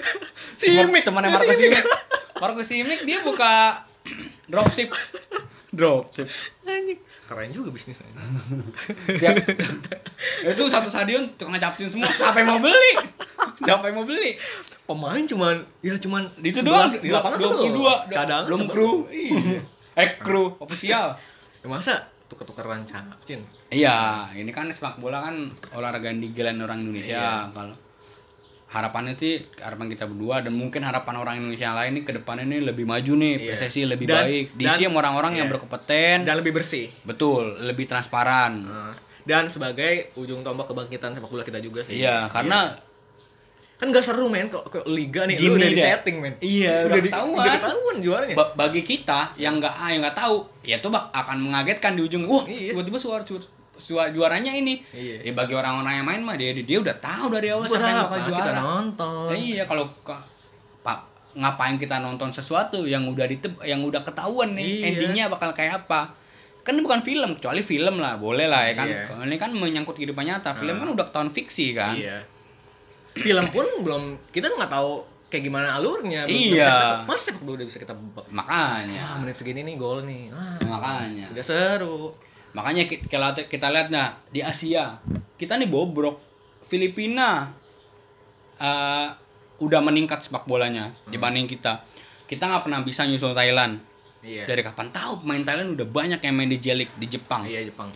Speaker 2: Simik temannya Marco
Speaker 1: Simik.
Speaker 2: Simik. Marco Simik dia buka dropship. Dropship.
Speaker 1: Anjing. Keren juga bisnisnya.
Speaker 2: Dia, itu satu stadion tukang capcin semua. Siapa yang mau beli? Siapa yang mau beli?
Speaker 1: Pemain cuman ya cuman
Speaker 2: Itu doang
Speaker 1: 11 di lapangan cuma
Speaker 2: 22.
Speaker 1: Cadangan
Speaker 2: belum
Speaker 1: cuma-
Speaker 2: kru.
Speaker 1: Iya.
Speaker 2: Eh kru official.
Speaker 1: Ya, masa tuker-tukeran Capcin?
Speaker 2: Iya, ini kan sepak bola kan olahraga yang digelan orang Indonesia.
Speaker 1: Iya.
Speaker 2: Kalau harapannya sih harapan kita berdua dan mungkin harapan orang Indonesia lain nih ke depannya nih lebih maju nih,
Speaker 1: Iya.
Speaker 2: PSSI lebih
Speaker 1: Dan-
Speaker 2: baik, diisi
Speaker 1: dan-
Speaker 2: sama orang-orang yang
Speaker 1: iya.
Speaker 2: berkompeten.
Speaker 1: Dan lebih bersih.
Speaker 2: Betul, lebih transparan.
Speaker 1: Nah, Dan sebagai ujung tombak kebangkitan sepak bola kita juga sih.
Speaker 2: Iya, karena
Speaker 1: Kan gak seru men kok ke liga nih lu
Speaker 2: Gini
Speaker 1: udah di
Speaker 2: deh.
Speaker 1: setting men.
Speaker 2: Iya, udah
Speaker 1: di-
Speaker 2: ketahuan.
Speaker 1: Udah ketahuan juaranya.
Speaker 2: ba- bagi kita yang nggak ah, yang nggak tahu, ya tuh bak- akan mengagetkan di ujung. Wah,
Speaker 1: Iya.
Speaker 2: tiba-tiba suara suara, suara juaranya ini.
Speaker 1: Iya.
Speaker 2: Ya bagi orang-orang yang main mah dia dia udah tahu dari awal
Speaker 1: Buat
Speaker 2: siapa yang
Speaker 1: apa
Speaker 2: bakal
Speaker 1: kita
Speaker 2: juara.
Speaker 1: nonton?
Speaker 2: Ya iya, kalau ka- Pak ngapain kita nonton sesuatu yang udah diteb- yang udah ketahuan nih
Speaker 1: Iya.
Speaker 2: endingnya bakal kayak apa? Kan ini bukan film, kecuali film lah, boleh lah ya kan.
Speaker 1: Iya.
Speaker 2: Kalau Ini kan menyangkut kehidupan nyata. Film
Speaker 1: Ah.
Speaker 2: kan udah ketahuan fiksi kan.
Speaker 1: Iya. Film pun belum kita nggak tahu kayak gimana alurnya. Belum- belum
Speaker 2: Iya.
Speaker 1: bisa kita- Masa sepak bola udah bisa kita bebak.
Speaker 2: Makanya.
Speaker 1: Ah, menit segini nih gol nih. Ah,
Speaker 2: Ya, Makanya.
Speaker 1: udah seru.
Speaker 2: Makanya ki- kalau te- kita lihat nah di Asia kita nih bobrok. Filipina eh, udah meningkat sepak
Speaker 1: Hmm.
Speaker 2: bolanya dibanding kita. Kita nggak pernah bisa nyusul Thailand.
Speaker 1: Iya.
Speaker 2: Dari kapan tahu pemain Thailand udah banyak yang main di J League di Jepang.
Speaker 1: Iya Jepang.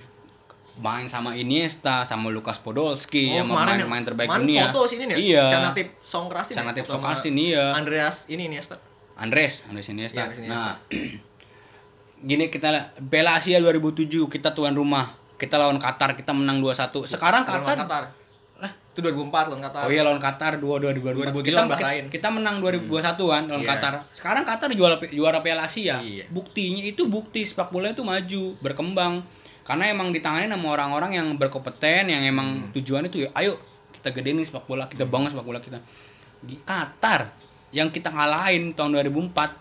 Speaker 2: Main sama Iniesta, sama Lukas Podolski
Speaker 1: Oh,
Speaker 2: yang
Speaker 1: kemarin
Speaker 2: Iya, main
Speaker 1: ya,
Speaker 2: main terbaik
Speaker 1: kemarin
Speaker 2: dunia.
Speaker 1: foto sini nih. ya?
Speaker 2: Iya.
Speaker 1: Canatip Songkrasin. ya,
Speaker 2: Canatip
Speaker 1: sama
Speaker 2: Sokasin iya.
Speaker 1: Andreas ini nih Esther.
Speaker 2: Andres, Andres Iniesta.
Speaker 1: Iya, Andres Iniesta.
Speaker 2: nah, gini kita Piala Asia 2007 kita tuan rumah. Kita lawan Qatar, kita menang 2-1. Sekarang Qatar,
Speaker 1: Qatar. Itu 2004 lawan Qatar.
Speaker 2: Oh iya lawan Qatar 2
Speaker 1: 2003 lawan
Speaker 2: kita,
Speaker 1: Bahrain.
Speaker 2: kita menang 2021 kan lawan
Speaker 1: Iya.
Speaker 2: Qatar. Sekarang Qatar juara juara Piala Asia.
Speaker 1: Iya.
Speaker 2: Buktinya itu bukti sepak bola itu maju, berkembang. Karena emang ditangani sama orang-orang yang berkompeten, yang
Speaker 1: Hmm.
Speaker 2: emang tujuan itu ya ayo kita gedein nih sepak bola, kita bangun sepak bola kita. Di Qatar yang kita ngalahin tahun 2004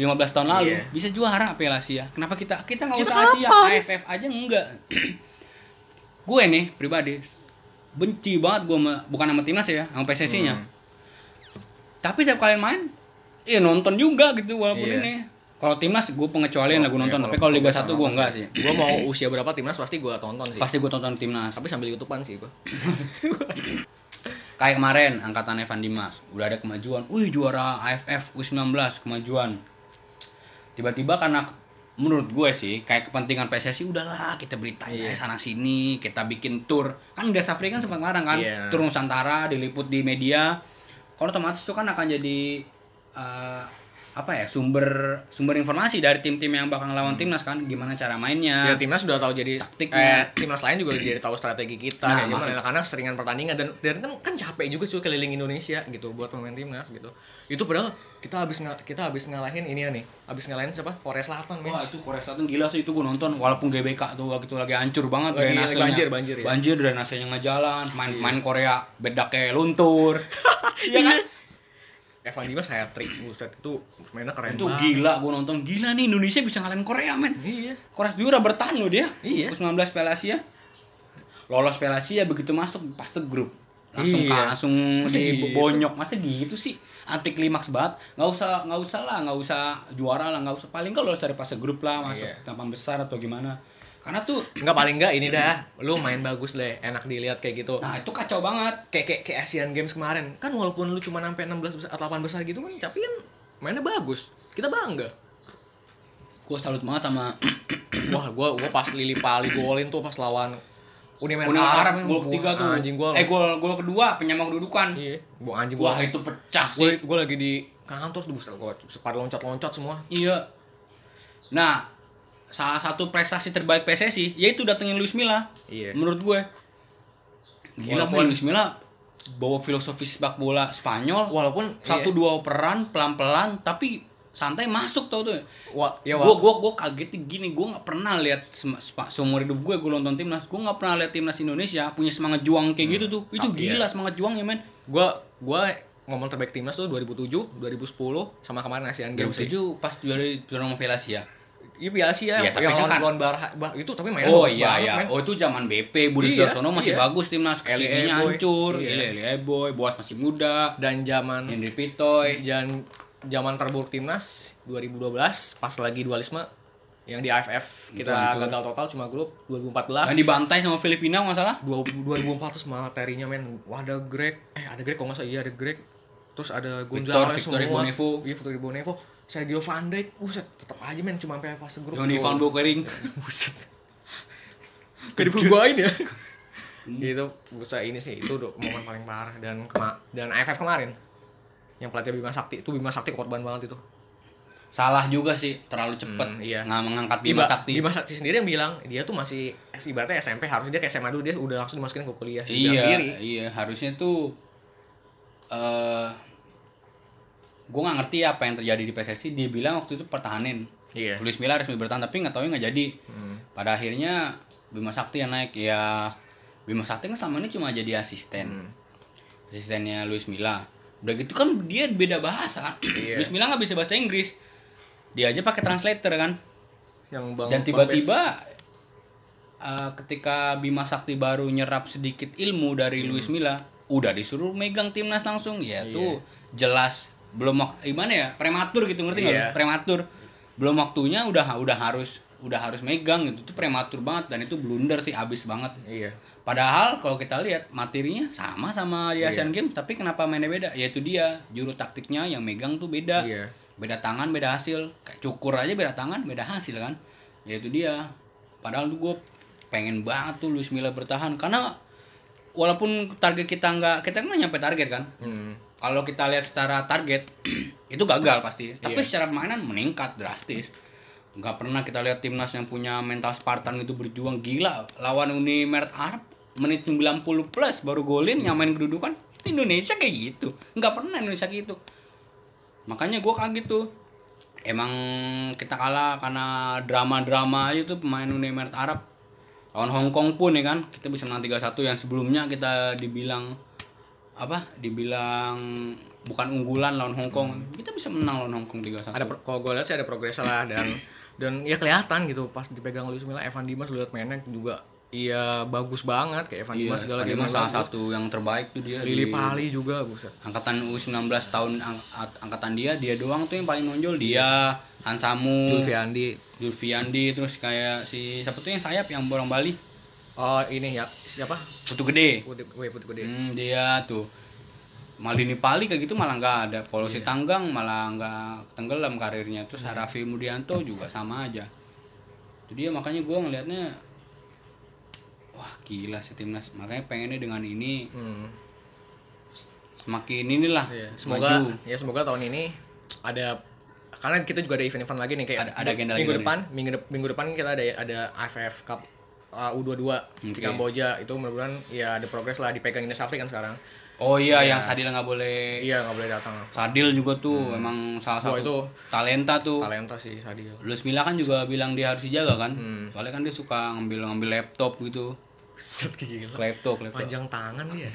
Speaker 2: 15 tahun lalu
Speaker 1: Iya.
Speaker 2: bisa juara Piala Asia. Kenapa kita kita nggak
Speaker 1: Kita
Speaker 2: usah Asia, AFF aja enggak gue nih pribadi benci banget gue sama, bukan sama timnas ya sama PSSI nya
Speaker 1: Hmm.
Speaker 2: tapi tiap kalian main ya nonton juga gitu walaupun
Speaker 1: Iya.
Speaker 2: ini kalau timnas gue pengecualian lah gue
Speaker 1: Iya,
Speaker 2: nonton
Speaker 1: kalau-
Speaker 2: tapi kalau Liga
Speaker 1: kalau
Speaker 2: 1
Speaker 1: nonton
Speaker 2: gue enggak sih
Speaker 1: Gua mau usia berapa timnas pasti gua tonton sih.
Speaker 2: pasti gue tonton timnas
Speaker 1: Tapi sambil youtubean sih gua.
Speaker 2: kayak kemarin angkatan Evan Dimas udah ada kemajuan wih juara AFF U19 kemajuan tiba-tiba karena menurut gue sih kayak kepentingan PSSI udahlah kita beritain
Speaker 1: Iya.
Speaker 2: aja sana sini kita bikin tur kan udah Safri kan sempat ngarang kan
Speaker 1: Iya.
Speaker 2: tur Nusantara diliput di media kalau otomatis itu kan akan jadi kan eh, apa ya sumber sumber informasi dari tim-tim yang bakal
Speaker 1: Hmm.
Speaker 2: ngelawan timnas kan gimana cara mainnya
Speaker 1: Ya, timnas udah tahu jadi eh,
Speaker 2: Taktiknya.
Speaker 1: timnas lain juga jadi tahu strategi kita
Speaker 2: Nah,
Speaker 1: kayak gimana
Speaker 2: maksud-
Speaker 1: karena seringan pertandingan dan dan kan kan capek juga cuy keliling Indonesia gitu buat pemain timnas gitu. Itu padahal kita habis nga- kita habis ngalahin ini ya nih. Habis ngalahin siapa? Korea Selatan, men.
Speaker 2: Wah itu Korea Selatan gila sih itu gue nonton walaupun GBK tuh waktu itu lagi hancur banget
Speaker 1: Lagi-
Speaker 2: drainasenya.
Speaker 1: lagi banjir, banjir ya. Iya.
Speaker 2: Banjir drainasenya nggak jalan, main main Korea bedak kayak luntur. Iya kan?
Speaker 1: Evan Dimas saya trik buset itu mainnya keren
Speaker 2: itu
Speaker 1: banget.
Speaker 2: gila gue nonton gila nih Indonesia bisa ngalahin Korea men.
Speaker 1: Iya.
Speaker 2: Korea Jura bertahan loh dia.
Speaker 1: Iya.
Speaker 2: Terus 19 Piala Asia. Lolos Piala Asia begitu masuk pasti grup. Langsung
Speaker 1: Iya.
Speaker 2: kan, langsung
Speaker 1: Masa gitu?
Speaker 2: dibonyok. Masa gitu sih? Anti klimaks banget. Nggak usah nggak usah lah, nggak usah juara lah, nggak usah paling kalau lolos dari fase grup lah, masuk
Speaker 1: Iya.
Speaker 2: delapan besar atau gimana. Karena tuh
Speaker 1: Enggak paling enggak ini dah. Lu main bagus deh, enak dilihat kayak gitu.
Speaker 2: nah itu kacau banget.
Speaker 1: Kayak kayak kayak Asian Games kemarin. Kan walaupun lu cuma sampai 16 besar atau 8 besar gitu kan tapi kan mainnya bagus. Kita bangga.
Speaker 2: Gue salut banget sama
Speaker 1: Wah, gua gua pas Lili Pali golin tuh pas lawan Uni Emirat
Speaker 2: Uni
Speaker 1: Arab,
Speaker 2: Arab gol
Speaker 1: gua-
Speaker 2: ketiga tuh.
Speaker 1: Anjing gua.
Speaker 2: eh gol gol kedua penyama kedudukan.
Speaker 1: Iya, gua anjing gua.
Speaker 2: Wah itu pecah sih.
Speaker 1: Gua, gua lagi di kantor tuh buset gua pada loncat-loncat semua.
Speaker 2: Iya. Nah, salah satu prestasi terbaik PSSI yaitu datengin Luis Milla.
Speaker 1: Iya.
Speaker 2: Menurut gue. Gila
Speaker 1: Walaupun-
Speaker 2: men, Luis Milla bawa filosofi sepak bola Spanyol.
Speaker 1: Walaupun iya.
Speaker 2: Satu dua operan pelan-pelan tapi santai masuk tau tuh.
Speaker 1: iya. Wa- ya
Speaker 2: gue
Speaker 1: wa-
Speaker 2: gue gue kaget gini gue nggak pernah lihat sem- sepa- seumur hidup gue gue nonton timnas gue nggak pernah lihat timnas Indonesia punya semangat juang kayak gitu tuh itu
Speaker 1: Tapi
Speaker 2: gila semangat juangnya men
Speaker 1: gua gua momen terbaik timnas tuh 2007, 2010 sama kemarin Asian
Speaker 2: game
Speaker 1: Games. sih.
Speaker 2: tujuh pas juara turnamen Piala Asia
Speaker 1: Iya Piala Asia
Speaker 2: Iya, tapi
Speaker 1: yang
Speaker 2: kan
Speaker 1: lawan
Speaker 2: kan-
Speaker 1: lawan Barha, bah- itu tapi mainnya
Speaker 2: Oh
Speaker 1: bagus
Speaker 2: iya
Speaker 1: banget,
Speaker 2: iya.
Speaker 1: men.
Speaker 2: Oh itu zaman BP Budi
Speaker 1: Iya,
Speaker 2: Sudarsono masih
Speaker 1: iya.
Speaker 2: bagus timnas.
Speaker 1: Eli
Speaker 2: Kesininya
Speaker 1: Eboy.
Speaker 2: hancur.
Speaker 1: Iya.
Speaker 2: Iya. Hmm. Eli Boy, Boas masih muda.
Speaker 1: Dan zaman
Speaker 2: Hendri Pitoy.
Speaker 1: dan zaman terburuk timnas 2012 pas lagi dualisme yang di AFF kita
Speaker 2: Betul, betul.
Speaker 1: gagal total cuma grup 2014
Speaker 2: Yang dibantai sama Filipina nggak salah.
Speaker 1: 2014 materinya men wah ada Greg eh ada Greg kok nggak salah iya ada Greg terus ada
Speaker 2: Victor,
Speaker 1: Gonzalez
Speaker 2: Victor
Speaker 1: semua
Speaker 2: Ibonevo.
Speaker 1: iya Victor Ibonevo Sergio Van Dijk buset tetap aja men cuma sampai fase grup
Speaker 2: Johnny Van Bokering.
Speaker 1: buset gak dibanggain ya
Speaker 2: Hmm.
Speaker 1: itu buset ini sih itu udah momen paling parah dan kema- dan AFF kemarin yang pelatih Bima Sakti itu Bima Sakti korban banget itu
Speaker 2: Salah juga sih, terlalu cepet
Speaker 1: Hmm, iya.
Speaker 2: nggak mengangkat
Speaker 1: Bima,
Speaker 2: Bima Sakti.
Speaker 1: Bima Sakti sendiri yang bilang dia tuh masih ibaratnya SMP harusnya dia kayak SMA dulu dia udah langsung dimasukin ke kuliah Dia bilang
Speaker 2: Iya,
Speaker 1: sendiri.
Speaker 2: iya harusnya tuh eh gue nggak ngerti apa yang terjadi di PSSI. Dia bilang waktu itu pertahanin.
Speaker 1: iya
Speaker 2: Luis Milla resmi bertahan tapi nggak tahu nggak jadi.
Speaker 1: Hmm.
Speaker 2: pada akhirnya Bima Sakti yang naik ya Bima Sakti kan sama ini cuma jadi asisten
Speaker 1: Hmm.
Speaker 2: asistennya Luis Milla udah gitu kan dia beda bahasa kan
Speaker 1: Iya.
Speaker 2: Luis Milla nggak bisa bahasa Inggris dia aja pakai translator kan
Speaker 1: yang bang Bang
Speaker 2: dan
Speaker 1: Bes.
Speaker 2: tiba-tiba eh, ketika Bima Sakti baru nyerap sedikit ilmu dari Luis Milla udah disuruh megang timnas langsung ya
Speaker 1: Hmm. Iya.
Speaker 2: tuh jelas belum wak- gimana ya prematur gitu ngerti nggak lu?
Speaker 1: Iya.
Speaker 2: prematur belum waktunya udah udah harus udah harus megang gitu tuh prematur banget dan itu blunder sih abis banget
Speaker 1: iya
Speaker 2: padahal kalau kita lihat materinya sama sama di
Speaker 1: Iya.
Speaker 2: Asian Games tapi kenapa mainnya beda yaitu dia juru taktiknya yang megang tuh beda
Speaker 1: iya
Speaker 2: beda tangan beda hasil kayak cukur aja beda tangan beda hasil kan ya itu dia padahal tuh gue pengen banget tuh Luis Milla bertahan karena walaupun target kita nggak kita kan nggak nyampe target kan
Speaker 1: Hmm.
Speaker 2: kalau kita lihat secara target itu gagal pasti tapi
Speaker 1: Iya.
Speaker 2: secara permainan meningkat drastis nggak pernah kita lihat timnas yang punya mental Spartan gitu berjuang gila lawan Uni Emirat Arab menit 90 plus baru golin nyamain kedudukan Indonesia kayak gitu nggak pernah Indonesia kayak gitu makanya gue kaget tuh emang kita kalah karena drama-drama aja tuh pemain Uni Emirat Arab lawan Hong Kong pun ya kan kita bisa menang 3-1 yang sebelumnya kita dibilang apa dibilang bukan unggulan lawan Hong Kong kita bisa menang lawan Hong Kong 3-1
Speaker 1: Hmm. ada pro- kalau gue lihat sih ada progres lah dan dan ya kelihatan gitu pas dipegang Luis Milla Evan Dimas lu lihat mainnya juga iya bagus banget kayak Evan
Speaker 2: Iya,
Speaker 1: Dimas segala
Speaker 2: Fadi
Speaker 1: game
Speaker 2: Mas salah
Speaker 1: bagus.
Speaker 2: satu yang terbaik tuh dia
Speaker 1: Lili
Speaker 2: di-
Speaker 1: Pali juga buset
Speaker 2: angkatan U19 tahun ang- at- angkatan dia dia doang tuh yang paling
Speaker 1: Iya.
Speaker 2: nonjol dia Hansamu
Speaker 1: Julfiandi
Speaker 2: Julfiandi terus kayak si siapa tuh yang sayap yang borong Bali
Speaker 1: oh ini ya siapa
Speaker 2: Putu Gede
Speaker 1: putih weh putih gede
Speaker 2: Hmm, dia tuh Malini Pali kayak gitu malah nggak ada.
Speaker 1: Iya.
Speaker 2: Polusi Tanggang malah nggak tenggelam karirnya. Terus Harafi Mudianto juga sama aja. Itu dia makanya gue ngelihatnya wah gila sih timnas. Makanya pengennya dengan ini
Speaker 1: Hmm.
Speaker 2: semakin inilah
Speaker 1: Iya, semoga
Speaker 2: maju.
Speaker 1: ya semoga tahun ini ada karena kita juga ada event-event lagi nih kayak
Speaker 2: Ada- ada agenda lagi
Speaker 1: minggu
Speaker 2: dong
Speaker 1: depan minggu dep- minggu depan kita ada ada AFF Cup uh, U22 di
Speaker 2: Oke.
Speaker 1: Kamboja itu mudah-mudahan ya ada progres lah dipegang Ines Afri kan sekarang
Speaker 2: Oh iya, yang Sadil nggak boleh.
Speaker 1: iya nggak boleh datang
Speaker 2: Sadil juga tuh emang salah
Speaker 1: Hmm. Wah,
Speaker 2: satu
Speaker 1: itu
Speaker 2: talenta tuh.
Speaker 1: talenta sih Sadil
Speaker 2: Luis Milla kan juga bilang dia harus dijaga kan.
Speaker 1: Hmm.
Speaker 2: Soalnya kan dia suka ngambil ngambil laptop gitu.
Speaker 1: set gila
Speaker 2: Laptop, laptop.
Speaker 1: panjang tangan dia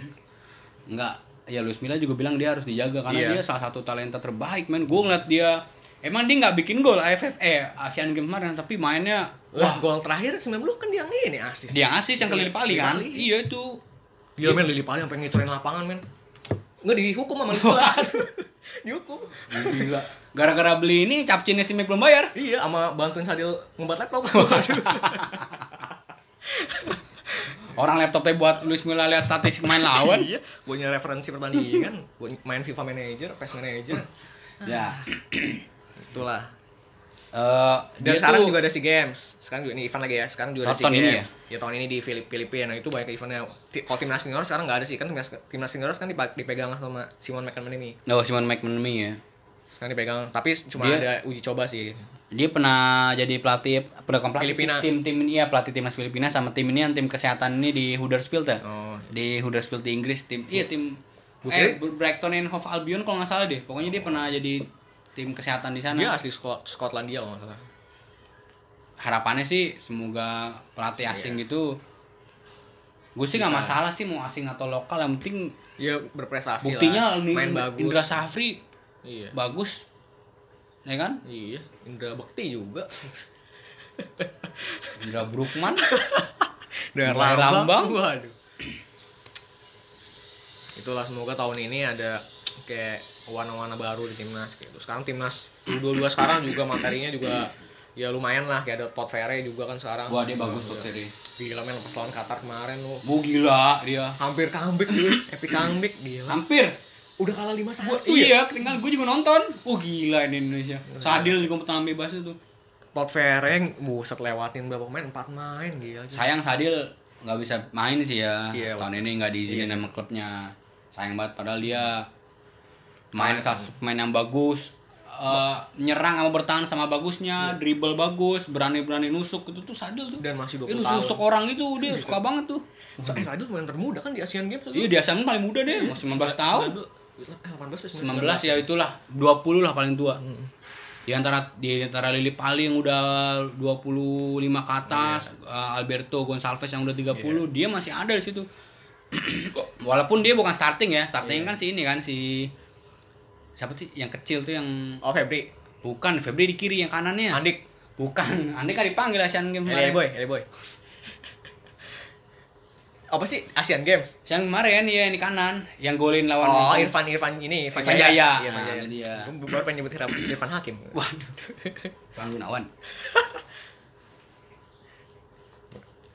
Speaker 2: Enggak. Ya Luis Milla juga bilang dia harus dijaga karena
Speaker 1: Iya.
Speaker 2: dia salah satu talenta terbaik, men. Gue ngeliat dia Emang dia nggak bikin gol AFF eh Asian Games kemarin tapi mainnya
Speaker 1: lah gol terakhir 90 kan dia ini asis
Speaker 2: dia ngasih yang ke Lili Pali kan?
Speaker 1: Lili Pali.
Speaker 2: Iya itu.
Speaker 1: Gila men Lili Pali sampai ngecorin lapangan men. Nggak dihukum sama Lili Pali. dihukum.
Speaker 2: Gila. Gara-gara beli ini capcinnya si Mick belum bayar.
Speaker 1: Iya sama bantuin Sadil ngebat laptop.
Speaker 2: Orang laptopnya buat Luis Milla lihat statistik main lawan.
Speaker 1: iya, gue nyari referensi pertandingan, gue main FIFA Manager, PES Manager,
Speaker 2: ya.
Speaker 1: itulah.
Speaker 2: Eh,
Speaker 1: Dan
Speaker 2: dia
Speaker 1: sekarang
Speaker 2: tuh-
Speaker 1: juga ada SEA Games. Sekarang juga ini event lagi ya. Sekarang juga ada
Speaker 2: Oh,
Speaker 1: SEA
Speaker 2: tahun ini
Speaker 1: Games. Ya? tahun ini di Filip Filipina itu banyak eventnya. Ti- Kalau timnas senior sekarang nggak ada sih kan timnas timnas senior kan dipa- dipegang sama Simon McManamy.
Speaker 2: Oh, Simon McManamy ya.
Speaker 1: Sekarang dipegang, tapi cuma
Speaker 2: Dia-
Speaker 1: ada uji coba sih.
Speaker 2: Dia pernah jadi pelatih pendekam pelatih
Speaker 1: Filipina.
Speaker 2: sih, tim-tim ini ya pelatih timnas Filipina sama tim ini yang tim kesehatan ini di Huddersfield ya.
Speaker 1: Oh,
Speaker 2: Di Huddersfield di Inggris tim iya tim eh
Speaker 1: Putri?
Speaker 2: Brighton and Hove Albion kalau nggak salah deh. Pokoknya dia pernah jadi tim kesehatan di sana.
Speaker 1: dia asli Scot- Skotlandia kalau nggak salah.
Speaker 2: Harapannya sih semoga pelatih asing
Speaker 1: Iya.
Speaker 2: gitu Gue sih nggak masalah sih mau asing atau lokal yang penting
Speaker 1: Iya berprestasi lah.
Speaker 2: buktinya nih
Speaker 1: main bagus.
Speaker 2: Indra Safri
Speaker 1: Iya.
Speaker 2: bagus ya kan
Speaker 1: Iya, Indra Bekti juga.
Speaker 2: Indra Brukman
Speaker 1: Dengan
Speaker 2: Mulai Lambang.
Speaker 1: Waduh. Itulah semoga tahun ini ada kayak warna-warna baru di timnas gitu. Sekarang timnas U22 sekarang juga materinya juga ya lumayan lah kayak ada Todd Ferre juga kan sekarang.
Speaker 2: wah dia bagus tuh seri
Speaker 1: Gila men lepas lawan Qatar kemarin lu.
Speaker 2: Gua gila dia
Speaker 1: Hampir comeback cuy, epic comeback gila.
Speaker 2: hampir
Speaker 1: Udah kalah 5-1
Speaker 2: gua,
Speaker 1: ya.
Speaker 2: iya ketinggalan gue juga nonton wah gila ini Indonesia
Speaker 1: Iya.
Speaker 2: Sadil juga pertandingan bebas itu
Speaker 1: Todd Ferre buset lewatin berapa pemain? 4 main gila. cuy.
Speaker 2: sayang Sadil nggak bisa main sih ya
Speaker 1: Iya,
Speaker 2: tahun ini nggak diizinin sama klubnya sayang banget padahal dia main
Speaker 1: Nah.
Speaker 2: salah satu pemain yang bagus Eh, nyerang sama bertahan sama
Speaker 1: Iya.
Speaker 2: bagusnya dribble bagus berani berani nusuk itu tuh Sadil tuh
Speaker 1: Dan masih
Speaker 2: dia
Speaker 1: 20
Speaker 2: nusuk
Speaker 1: tahun.
Speaker 2: nusuk orang gitu dia suka banget tuh
Speaker 1: Sa- Eh, Sadil pemain termuda kan di Asian Games. eh,
Speaker 2: iya dia sama paling muda deh masih 19 tahun
Speaker 1: 19
Speaker 2: 19 ya itulah 20 lah paling tua
Speaker 1: Hmm.
Speaker 2: di antara di antara Lili Pali yang udah 25 ke atas
Speaker 1: Iya.
Speaker 2: uh, Alberto Gonçalves yang udah 30 dia masih ada di situ walaupun dia bukan starting ya
Speaker 1: Iya.
Speaker 2: starting kan si ini kan si siapa sih yang kecil tuh yang
Speaker 1: Oh Febri,
Speaker 2: bukan Febri di kiri yang kanannya
Speaker 1: Andik,
Speaker 2: bukan Andi
Speaker 1: Iya.
Speaker 2: kan dipanggil Asian Games
Speaker 1: Eli
Speaker 2: Iya. kemarin
Speaker 1: Boy, Eli Boy. Apa sih Asian Games?
Speaker 2: Asian kemarin ya yang di kanan yang golin lawan
Speaker 1: Oh,
Speaker 2: Hongkong.
Speaker 1: Irfan Irfan ini, Irfan,
Speaker 2: Irfan Jaya.
Speaker 1: Iya, Irfan
Speaker 2: Nah,
Speaker 1: Jaya.
Speaker 2: itu dia.
Speaker 1: Gua baru pengen nyebut Irfan, Irfan Hakim.
Speaker 2: waduh Irfan Gunawan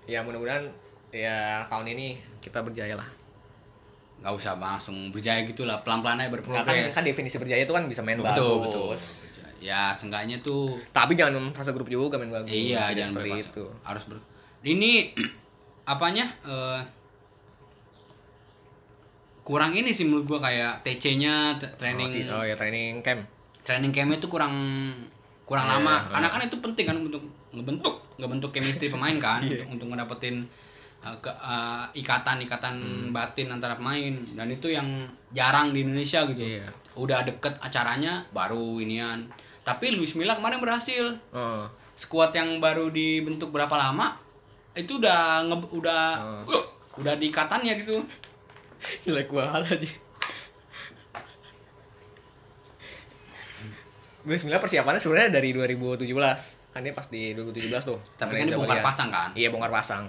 Speaker 1: Ya mudah-mudahan ya tahun ini kita berjaya lah.
Speaker 2: nggak usah langsung berjaya gitu lah pelan-pelan aja
Speaker 1: Nah, kan,
Speaker 2: berprogres
Speaker 1: kan definisi berjaya itu kan bisa main
Speaker 2: betul
Speaker 1: bagus.
Speaker 2: betul ya seenggaknya tuh
Speaker 1: Tapi jangan fase grup juga main bagus.
Speaker 2: eh, iya
Speaker 1: Tidak
Speaker 2: jangan
Speaker 1: seperti
Speaker 2: berpaksa.
Speaker 1: itu.
Speaker 2: harus ber ini apanya eh, kurang ini sih menurut gua kayak TC-nya
Speaker 1: Oh,
Speaker 2: t-
Speaker 1: ti-
Speaker 2: training
Speaker 1: oh, ya training camp.
Speaker 2: training campnya tuh kurang kurang
Speaker 1: Iya,
Speaker 2: lama
Speaker 1: iya.
Speaker 2: karena kan itu penting kan untuk ngebentuk ngebentuk chemistry pemain kan
Speaker 1: Iya.
Speaker 2: untuk, untuk ngedapetin uh, ke- uh, ikatan-ikatan
Speaker 1: Hmm.
Speaker 2: batin antara pemain dan itu yang jarang di Indonesia gitu
Speaker 1: Iya.
Speaker 2: udah deket acaranya baru inian tapi Luis Milla kemarin berhasil
Speaker 1: Oh.
Speaker 2: skuad yang baru dibentuk berapa lama itu udah nge- udah
Speaker 1: Oh.
Speaker 2: uh, udah di ikatannya gitu
Speaker 1: jelek banget aja Luis Milla persiapannya sebenarnya dari 2017 kan dia pas di 2017 tuh
Speaker 2: tapi
Speaker 1: Mulai udah
Speaker 2: kan dibongkar
Speaker 1: kelihatan.
Speaker 2: pasang kan
Speaker 1: iya bongkar pasang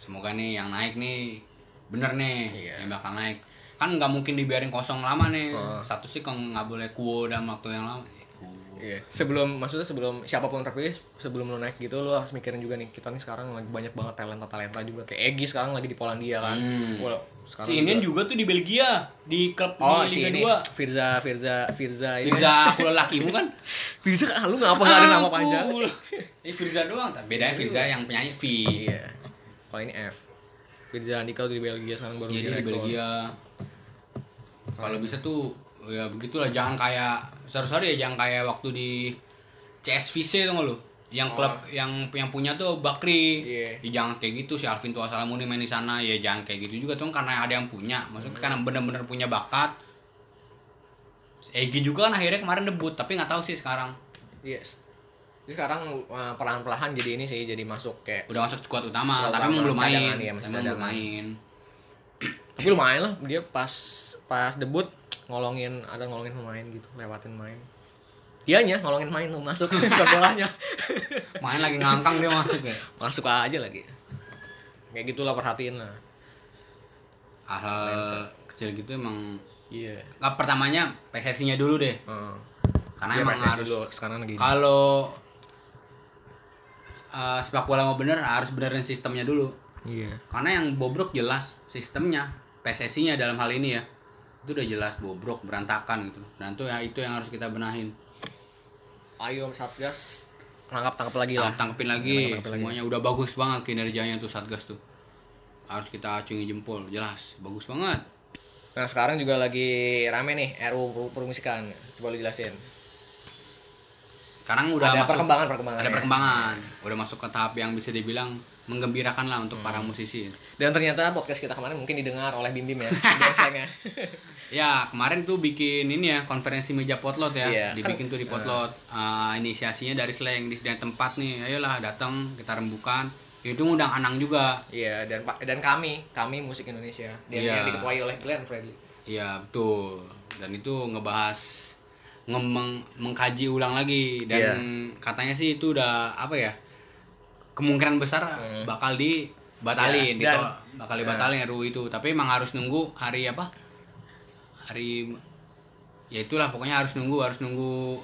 Speaker 2: semoga nih yang naik nih bener nih
Speaker 1: Iya.
Speaker 2: yang bakal naik kan nggak mungkin dibiarin kosong lama nih
Speaker 1: Heeh.
Speaker 2: satu sih kalau nggak boleh kuo dalam waktu yang lama Eh,
Speaker 1: iya sebelum maksudnya sebelum siapapun terpilih sebelum lo naik gitu lo harus mikirin juga nih kita nih sekarang lagi banyak banget talenta talenta juga kayak Egi sekarang lagi di Polandia kan
Speaker 2: Hmm.
Speaker 1: Wah,
Speaker 2: si ini
Speaker 1: juga-
Speaker 2: juga tuh di Belgia di klub
Speaker 1: oh
Speaker 2: di
Speaker 1: si ini
Speaker 2: Liga
Speaker 1: Firza Firza Firza
Speaker 2: 2
Speaker 1: ini
Speaker 2: Firza aku lelakimu kan
Speaker 1: Firza ah, lu ngapa nggak ada nama
Speaker 2: Aku.
Speaker 1: panjang sih
Speaker 2: eh Firza doang tapi bedanya Firza yang penyanyi V
Speaker 1: iya kalau ini F Firza Andika tuh di Belgia sekarang baru
Speaker 2: jadi di
Speaker 1: direkrut.
Speaker 2: Belgia kalau bisa tuh ya begitulah jangan kayak sorry sorry ya jangan kayak waktu di CSVC itu nggak lu yang klub yang yang punya tuh Bakri
Speaker 1: Oh. Iya.
Speaker 2: Ya, jangan kayak gitu si Alvin Tua Salamuni main di sana ya jangan kayak gitu juga tuh karena ada yang punya maksudnya
Speaker 1: Hmm.
Speaker 2: karena bener-bener punya bakat Egi juga kan akhirnya kemarin debut tapi nggak tahu sih sekarang
Speaker 1: Yes. Iya. Jadi sekarang eh, perlahan-perlahan jadi ini sih jadi masuk kayak
Speaker 2: udah masuk skuad utama
Speaker 1: Skuad
Speaker 2: tapi emang
Speaker 1: utama,
Speaker 2: belum main
Speaker 1: cadangan, iya, masih
Speaker 2: Tapi emang belum
Speaker 1: cadangan.
Speaker 2: main
Speaker 1: tapi lumayan lah dia pas pas debut ngolongin ada ngolongin pemain gitu lewatin main dianya ngolongin main tuh masuk ke bolanya
Speaker 2: main lagi ngangkang dia masuk ya
Speaker 1: masuk aja lagi kayak gitulah perhatiin lah
Speaker 2: hal kecil gitu emang
Speaker 1: iya
Speaker 2: nggak pertamanya PSSI-nya dulu deh
Speaker 1: Heeh.
Speaker 2: karena
Speaker 1: Dia
Speaker 2: emang
Speaker 1: PSSI
Speaker 2: harus
Speaker 1: dulu, sekarang lagi
Speaker 2: kalau eh, sepak bola mau bener harus benerin sistemnya dulu
Speaker 1: iya
Speaker 2: karena yang bobrok jelas sistemnya PSSI-nya dalam hal ini ya itu udah jelas bobrok berantakan gitu dan itu ya itu yang harus kita benahin
Speaker 1: ayo satgas tangkap tangkap lagi lah
Speaker 2: tangkepin
Speaker 1: Tangkep-tangkepin
Speaker 2: lagi
Speaker 1: Iya. lagi.
Speaker 2: semuanya udah bagus banget kinerjanya tuh satgas tuh harus kita acungi jempol jelas bagus banget
Speaker 1: nah sekarang juga lagi rame nih RU perumusikan coba lu jelasin
Speaker 2: sekarang udah
Speaker 1: ada
Speaker 2: masuk
Speaker 1: perkembangan perkembangan
Speaker 2: ada perkembangan udah masuk ke tahap yang bisa dibilang menggembirakan lah untuk para
Speaker 1: Hmm.
Speaker 2: musisi
Speaker 1: dan ternyata podcast kita kemarin mungkin didengar oleh Bim Bim ya biasanya
Speaker 2: ya kemarin tuh bikin ini ya konferensi meja potlot ya
Speaker 1: Iya,
Speaker 2: dibikin tuh di potlot Ah, inisiasinya dari slang di setiap tempat nih ayolah datang kita rembukan itu ngundang anang juga
Speaker 1: Iya dan pa- dan kami kami musik Indonesia dia
Speaker 2: Iya.
Speaker 1: yang diketuai oleh Glenn Fredly.
Speaker 2: Iya betul. Dan itu ngebahas ngemeng mengkaji ulang lagi dan
Speaker 1: Iya.
Speaker 2: katanya sih itu udah apa ya kemungkinan besar bakal
Speaker 1: Hmm. Iya, dan-
Speaker 2: dibatalin ditol- bakal dibatalin RUU itu tapi emang harus nunggu hari apa hari ya itulah pokoknya harus nunggu harus nunggu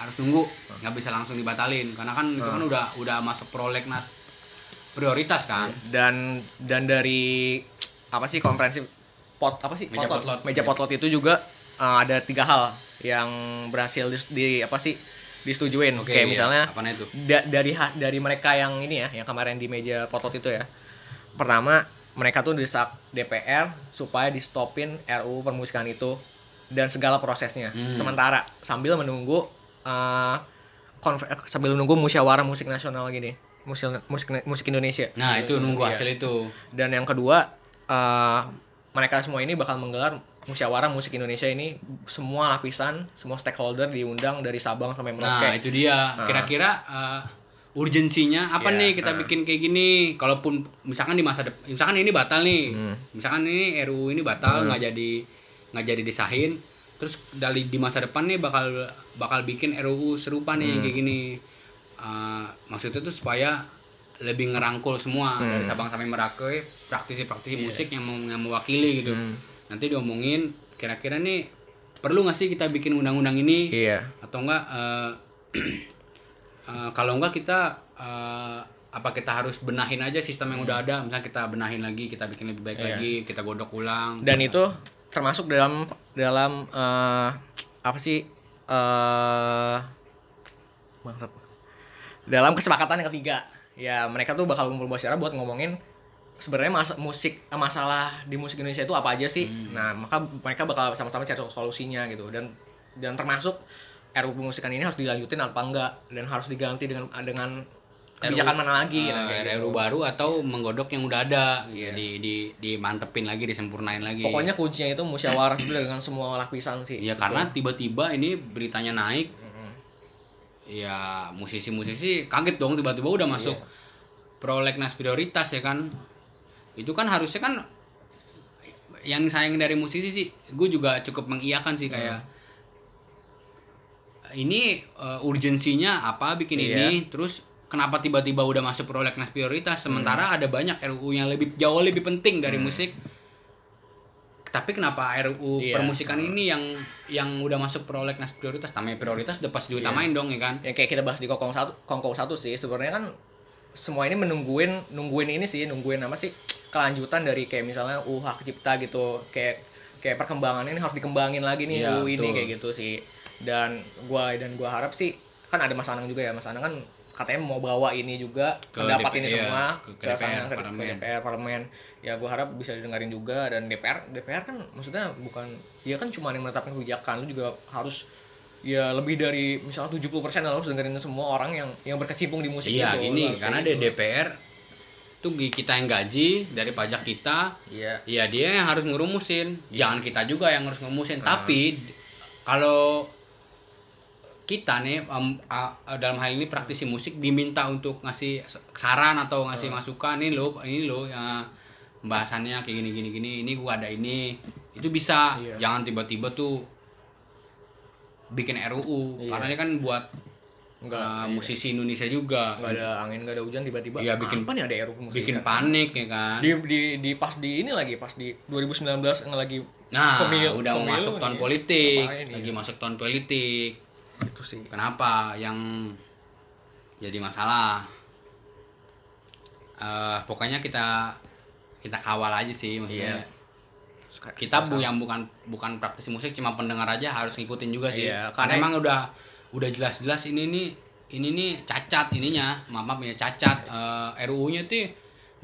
Speaker 2: harus nunggu
Speaker 1: Hmm.
Speaker 2: nggak bisa langsung dibatalin karena kan itu kan udah udah masuk prolegnas prioritas kan
Speaker 1: Iya. Dan dan dari apa sih konferensi pot apa sih
Speaker 2: Meja
Speaker 1: Potlot.
Speaker 2: potlot.
Speaker 1: meja potlot itu juga eh, ada tiga hal yang berhasil di, di- apa sih disetujuin
Speaker 2: Oke,
Speaker 1: kayak
Speaker 2: iya.
Speaker 1: misalnya
Speaker 2: Apaan itu?
Speaker 1: da- dari ha- dari mereka yang ini ya yang kemarin di meja potlot itu ya pertama mereka tuh desak DPR supaya di stopin RUU permusikan itu dan segala prosesnya
Speaker 2: Hmm.
Speaker 1: sementara sambil menunggu eh, konfer- eh, sambil menunggu musyawarah musik nasional gini musik musik, musik Indonesia
Speaker 2: nah itu nunggu
Speaker 1: Iya.
Speaker 2: hasil itu
Speaker 1: Dan yang kedua, eh, mereka semua ini bakal menggelar musyawarah musik Indonesia ini semua lapisan, semua stakeholder diundang dari Sabang sampai
Speaker 2: Nah,
Speaker 1: Merauke.
Speaker 2: itu dia. Kira-kira eh, urgensinya apa
Speaker 1: Iya,
Speaker 2: nih kita bikin kayak gini? Kalaupun misalkan di masa depan, misalkan ini batal nih. Misalkan ini RUU ini batal nggak jadi nggak jadi disahin. Terus dari di masa depan nih bakal bakal bikin RUU serupa nih kayak gini. Eh, maksudnya tuh supaya lebih ngerangkul semua dari Sabang sampai Merauke praktisi-praktisi musik yang mau yang mewakili gitu.
Speaker 1: Hmm.
Speaker 2: Nanti diomongin kira-kira nih perlu nggak sih kita bikin undang-undang ini?
Speaker 1: Iya.
Speaker 2: atau enggak eh, eh, kalau enggak kita eh, apa kita harus benahin aja sistem yang udah
Speaker 1: Hmm.
Speaker 2: ada misalnya kita benahin lagi kita bikin lebih baik lagi kita godok ulang
Speaker 1: Iya. Dan itu termasuk dalam dalam eh, apa sih? eh bangsat. Dalam kesepakatan yang ketiga. Ya, mereka tuh bakal ngumpul secara buat ngomongin sebenarnya mas- musik eh, masalah di musik Indonesia itu apa aja sih? Nah, maka mereka bakal sama-sama cari solusinya gitu. Dan dan termasuk RUU pemusikan ini harus dilanjutin apa enggak dan harus diganti dengan dengan kebijakan mana lagi
Speaker 2: Eh,
Speaker 1: nah, kayak gitu. Iya.
Speaker 2: RU baru atau menggodok yang udah ada di di dimantepin lagi disempurnain lagi
Speaker 1: Pokoknya kuncinya itu musyawarah dulu dengan semua lapisan sih.
Speaker 2: ya karena
Speaker 1: gitu.
Speaker 2: tiba-tiba ini beritanya naik ya musisi-musisi kaget dong tiba-tiba udah masuk prolegnas prioritas ya kan itu kan harusnya kan yang sayang dari musisi sih gue juga cukup mengiyakan sih kayak ini uh, urgensinya apa bikin ini terus kenapa tiba-tiba udah masuk prolegnas prioritas sementara ada banyak RUU yang lebih jauh lebih penting dari musik tapi kenapa RUU
Speaker 1: Iya.
Speaker 2: permusikan ini yang yang udah masuk prolegnas prioritas namanya prioritas udah pasti diutamain dong ya kan
Speaker 1: yang kayak kita bahas di kongkong satu kongkong satu sih sebenarnya kan semua ini menungguin nungguin ini sih nungguin apa sih kelanjutan dari kayak misalnya uh hak cipta gitu kayak kayak perkembangannya ini harus dikembangin lagi nih
Speaker 2: Iya,
Speaker 1: UU ini
Speaker 2: betul.
Speaker 1: kayak gitu sih dan gua dan gua harap sih kan ada Mas Anang juga ya Mas Anang kan katanya mau bawa ini juga
Speaker 2: Ke
Speaker 1: pendapat
Speaker 2: DP-
Speaker 1: ini
Speaker 2: iya,
Speaker 1: semua
Speaker 2: ke- ke
Speaker 1: gerakan
Speaker 2: DPR,
Speaker 1: ke
Speaker 2: parlemen.
Speaker 1: ke DPR parlemen ya gue harap bisa didengarin juga dan DPR DPR kan maksudnya bukan dia kan cuma yang menetapkan kebijakan lu juga harus ya lebih dari misalnya 70% lah lu harus dengerin semua orang yang yang berkecimpung di musik
Speaker 2: Iya
Speaker 1: itu, lu
Speaker 2: gini,
Speaker 1: harus
Speaker 2: karena
Speaker 1: kayak gitu.
Speaker 2: di DPR tuh gi- kita yang gaji dari pajak kita,
Speaker 1: gitu. iya
Speaker 2: ya dia yang harus ngerumusin. Jangan kita juga yang harus ngerumusin.
Speaker 1: Ah.
Speaker 2: Tapi d- kalau kita nih em, a- dalam hal ini praktisi musik diminta untuk ngasih s- saran atau
Speaker 1: Ah.
Speaker 2: ngasih masukan nih lo, ini lo ya, pembahasannya kayak gini gini gini, ini gua ada ini. Itu bisa.
Speaker 1: Iya.
Speaker 2: Jangan tiba-tiba tuh bikin RUU
Speaker 1: Iya.
Speaker 2: karena ini kan buat
Speaker 1: enggak iya.
Speaker 2: uh, musisi Indonesia juga.
Speaker 1: nggak ada angin nggak ada hujan tiba-tiba
Speaker 2: Iya, bikin-
Speaker 1: apa nih ada RUU musik
Speaker 2: bikin panik ya kan.
Speaker 1: di, di di pas di ini lagi pas di 2019 yang lagi
Speaker 2: Nah,
Speaker 1: Pemilu-
Speaker 2: udah mau
Speaker 1: pemilu
Speaker 2: masuk tahun
Speaker 1: nih.
Speaker 2: politik,
Speaker 1: Ngapain nih? ya.
Speaker 2: lagi masuk tahun politik.
Speaker 1: itu sih
Speaker 2: Kenapa yang jadi masalah? Eh, pokoknya kita kita kawal aja sih maksudnya.
Speaker 1: Iya. Sek-
Speaker 2: Kita bu yang bukan bukan praktisi musik cuma pendengar aja harus ngikutin juga sih.
Speaker 1: Iya, karena-
Speaker 2: karena emang udah udah jelas-jelas ini nih ini nih cacat ininya, maaf maaf ya cacat Eh, RUU-nya tuh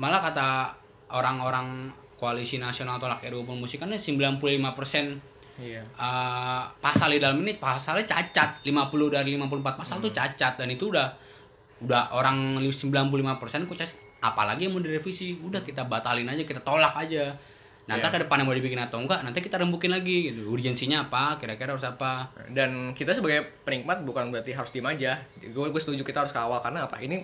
Speaker 2: malah kata orang-orang koalisi nasional tolak RUU pemusikan 95%
Speaker 1: iya
Speaker 2: Uh, pasal di dalam ini pasalnya cacat 50 dari 54 pasal tuh cacat dan itu udah udah orang 95% kok cacat apalagi yang mau direvisi udah kita batalin aja kita tolak aja nanti
Speaker 1: Iya.
Speaker 2: ke depannya mau dibikin atau enggak nanti kita rembukin lagi gitu. urgensinya apa kira-kira harus apa
Speaker 1: dan kita sebagai penikmat bukan berarti harus diem aja gue gue setuju kita harus kawal karena apa ini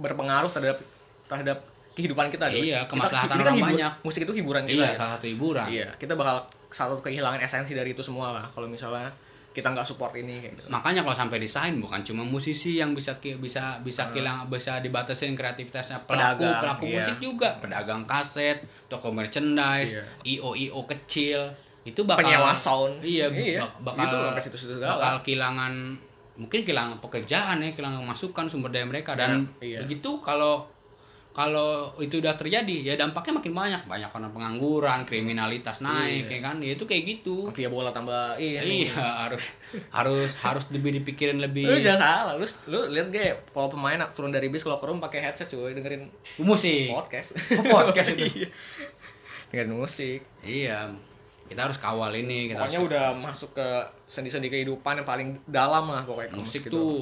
Speaker 1: berpengaruh terhadap terhadap kehidupan kita
Speaker 2: Iya,
Speaker 1: Kita-
Speaker 2: kemaslahatan
Speaker 1: ini
Speaker 2: orang
Speaker 1: hibu-
Speaker 2: banyak.
Speaker 1: musik itu hiburan kita
Speaker 2: iya
Speaker 1: ya.
Speaker 2: salah satu hiburan
Speaker 1: iya kita bakal satu kehilangan esensi dari itu semua lah kalau misalnya kita nggak support ini kayak gitu
Speaker 2: makanya kalau sampai desain bukan cuma musisi yang bisa ki- bisa bisa kilang bisa dibatasin kreativitasnya pelaku
Speaker 1: Pedagang,
Speaker 2: pelaku
Speaker 1: iya.
Speaker 2: musik juga pedagang kaset toko merchandise
Speaker 1: Iya.
Speaker 2: io io kecil itu bakal
Speaker 1: penyewa sound
Speaker 2: iya,
Speaker 1: iya
Speaker 2: bak- bakal
Speaker 1: gitu sampai situ-situ segala.
Speaker 2: bakal kehilangan mungkin kehilangan pekerjaan ya kehilangan masukan sumber daya mereka dan
Speaker 1: Iya, iya.
Speaker 2: begitu kalau kalau itu udah terjadi ya dampaknya makin banyak banyak orang pengangguran kriminalitas naik
Speaker 1: Iya.
Speaker 2: ya kan ya itu kayak gitu
Speaker 1: via bola tambah ini
Speaker 2: iya harus harus harus lebih dipikirin lebih
Speaker 1: lu jangan salah lu lu lihat gak ya, kalau pemain turun dari bis kalau ke room pakai headset cuy dengerin
Speaker 2: musik
Speaker 1: podcast
Speaker 2: Oh, podcast itu.
Speaker 1: Iya. dengerin musik
Speaker 2: iya kita harus kawal ini kita
Speaker 1: pokoknya
Speaker 2: harus-
Speaker 1: udah masuk ke sendi-sendi kehidupan yang paling dalam lah pokoknya
Speaker 2: musik
Speaker 1: gitu.
Speaker 2: tuh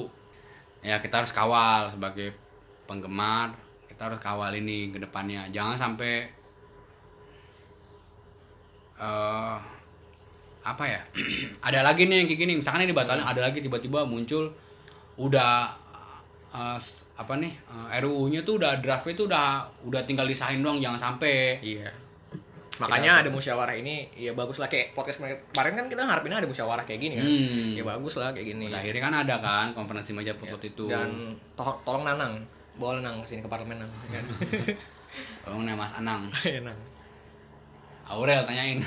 Speaker 2: ya kita harus kawal sebagai penggemar kita harus kawal ini ke depannya jangan sampai eh apa ya ada lagi nih yang kayak gini misalkan ini dibatalin
Speaker 1: Iya.
Speaker 2: ada lagi tiba-tiba muncul udah eh, apa nih eh, RUU-nya tuh udah draftnya tuh udah udah tinggal disahin doang jangan sampai
Speaker 1: iya makanya ada musyawarah ini ya bagus lah kayak podcast kemarin- kemarin kan kita harapin ada musyawarah kayak gini kan
Speaker 2: Hmm.
Speaker 1: ya bagus lah kayak gini
Speaker 2: Pada akhirnya kan ada kan konferensi meja pusat itu.
Speaker 1: Iya. dan to- tolong nanang bawa nanang kesini ke parlemen nang kan
Speaker 2: Oh, nah, Mas Anang.
Speaker 1: Iya, Nang.
Speaker 2: Aurel tanyain.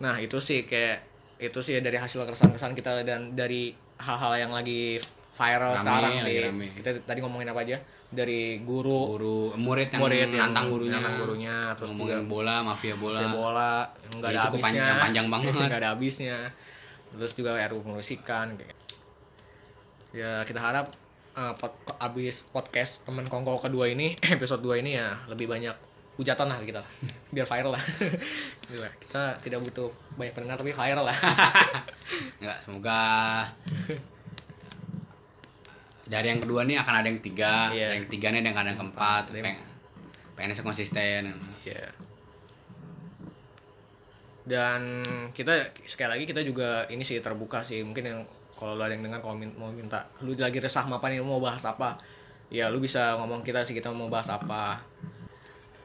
Speaker 1: Nah itu sih kayak itu sih dari hasil keresahan-keresahan kita dan dari hal-hal yang lagi viral
Speaker 2: Rame,
Speaker 1: sekarang
Speaker 2: lagi
Speaker 1: sih.
Speaker 2: rame.
Speaker 1: Kita tadi ngomongin apa aja? Dari guru,
Speaker 2: Guru murid yang
Speaker 1: murid yang
Speaker 2: nantang gurunya.
Speaker 1: nantang gurunya, terus juga
Speaker 2: ngomongin bola, mafia bola.
Speaker 1: bola, bola yang nggak
Speaker 2: Ya,
Speaker 1: ada
Speaker 2: itu kepanjang-
Speaker 1: habisnya,
Speaker 2: panjang banget.
Speaker 1: nggak ada habisnya. Terus juga RU pengusikan. Ya kita harap eh, pod- abis podcast temen kongkol kedua ini episode 2 ini ya lebih banyak hujatan lah kita biar viral lah Gila, kita tidak butuh banyak pendengar tapi viral lah
Speaker 2: Enggak, semoga dari yang kedua nih akan ada yang tiga,
Speaker 1: Iya.
Speaker 2: dari yang tiga nih akan ada yang keempat.
Speaker 1: Ada yang-
Speaker 2: Peng pengennya sih konsisten.
Speaker 1: Iya. Dan kita sekali lagi kita juga ini sih terbuka sih mungkin yang kalau lu ada yang dengar kalau min- mau minta lu lagi resah sama apa nih lu mau bahas apa ya lu bisa ngomong kita sih kita mau bahas apa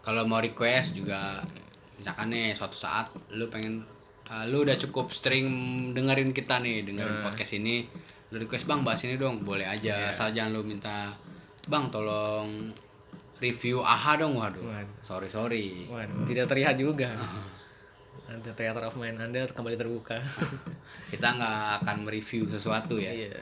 Speaker 2: Kalau mau request juga misalkan nih suatu saat lu pengen uh, lu udah cukup sering dengerin kita nih,
Speaker 1: Nah.
Speaker 2: dengerin podcast ini, lu request Bang bahas ini dong, boleh aja.
Speaker 1: Iya.
Speaker 2: Asal jangan lu minta Bang tolong review AHA dong, waduh.
Speaker 1: Waduh.
Speaker 2: Sorry, sorry.
Speaker 1: Wah, tidak terlihat juga ada teater of mind anda kembali terbuka
Speaker 2: Kita nggak akan mereview sesuatu ya.
Speaker 1: iya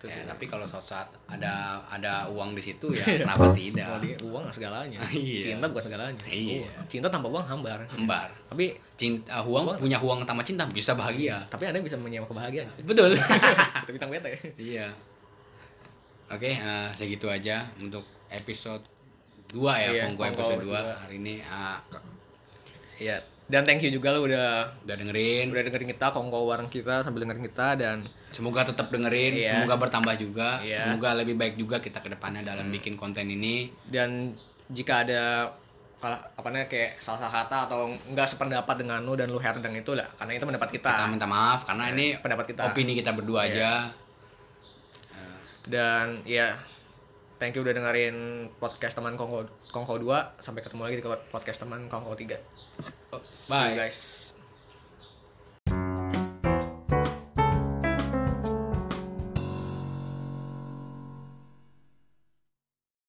Speaker 1: Itu Iya, sih. Iya.
Speaker 2: Ya, tapi kalau suatu saat ada ada uang di situ ya kenapa tidak?
Speaker 1: Kalau dia uang nggak segalanya.
Speaker 2: Iya.
Speaker 1: Cinta bukan segalanya.
Speaker 2: Iya.
Speaker 1: Uang. Cinta tanpa uang hambar.
Speaker 2: Hembar.
Speaker 1: Tapi
Speaker 2: Cinta eh, uang punya uang tambah cinta bisa bahagia.
Speaker 1: tapi Anda bisa menyewa kebahagiaan.
Speaker 2: Betul.
Speaker 1: Itu bintang bete.
Speaker 2: iya. Oke, eh, segitu aja untuk episode 2 ya,
Speaker 1: Iya,
Speaker 2: Kongko
Speaker 1: Kongko
Speaker 2: episode
Speaker 1: dua.
Speaker 2: 2 hari ini eh,
Speaker 1: Iya. Dan thank you juga lo udah
Speaker 2: udah dengerin.
Speaker 1: udah dengerin kita, kongko bareng kita sambil dengerin kita dan
Speaker 2: Semoga tetap dengerin,
Speaker 1: Iya.
Speaker 2: semoga bertambah juga,
Speaker 1: Iya. Hmm.
Speaker 2: semoga lebih baik juga kita ke depannya dalam bikin konten ini.
Speaker 1: dan jika ada kal- apa namanya kayak salah kata atau nggak sependapat dengan lu dan lu herdeng itu lah karena itu pendapat kita,
Speaker 2: Kita minta maaf karena ini
Speaker 1: pendapat Ah. Iya. kita
Speaker 2: opini kita berdua
Speaker 1: Iya.
Speaker 2: aja.
Speaker 1: dan ya thank you udah dengerin podcast teman kongko kongko 2 sampai ketemu lagi di podcast teman kongko 3 see you
Speaker 2: Bye.
Speaker 1: guys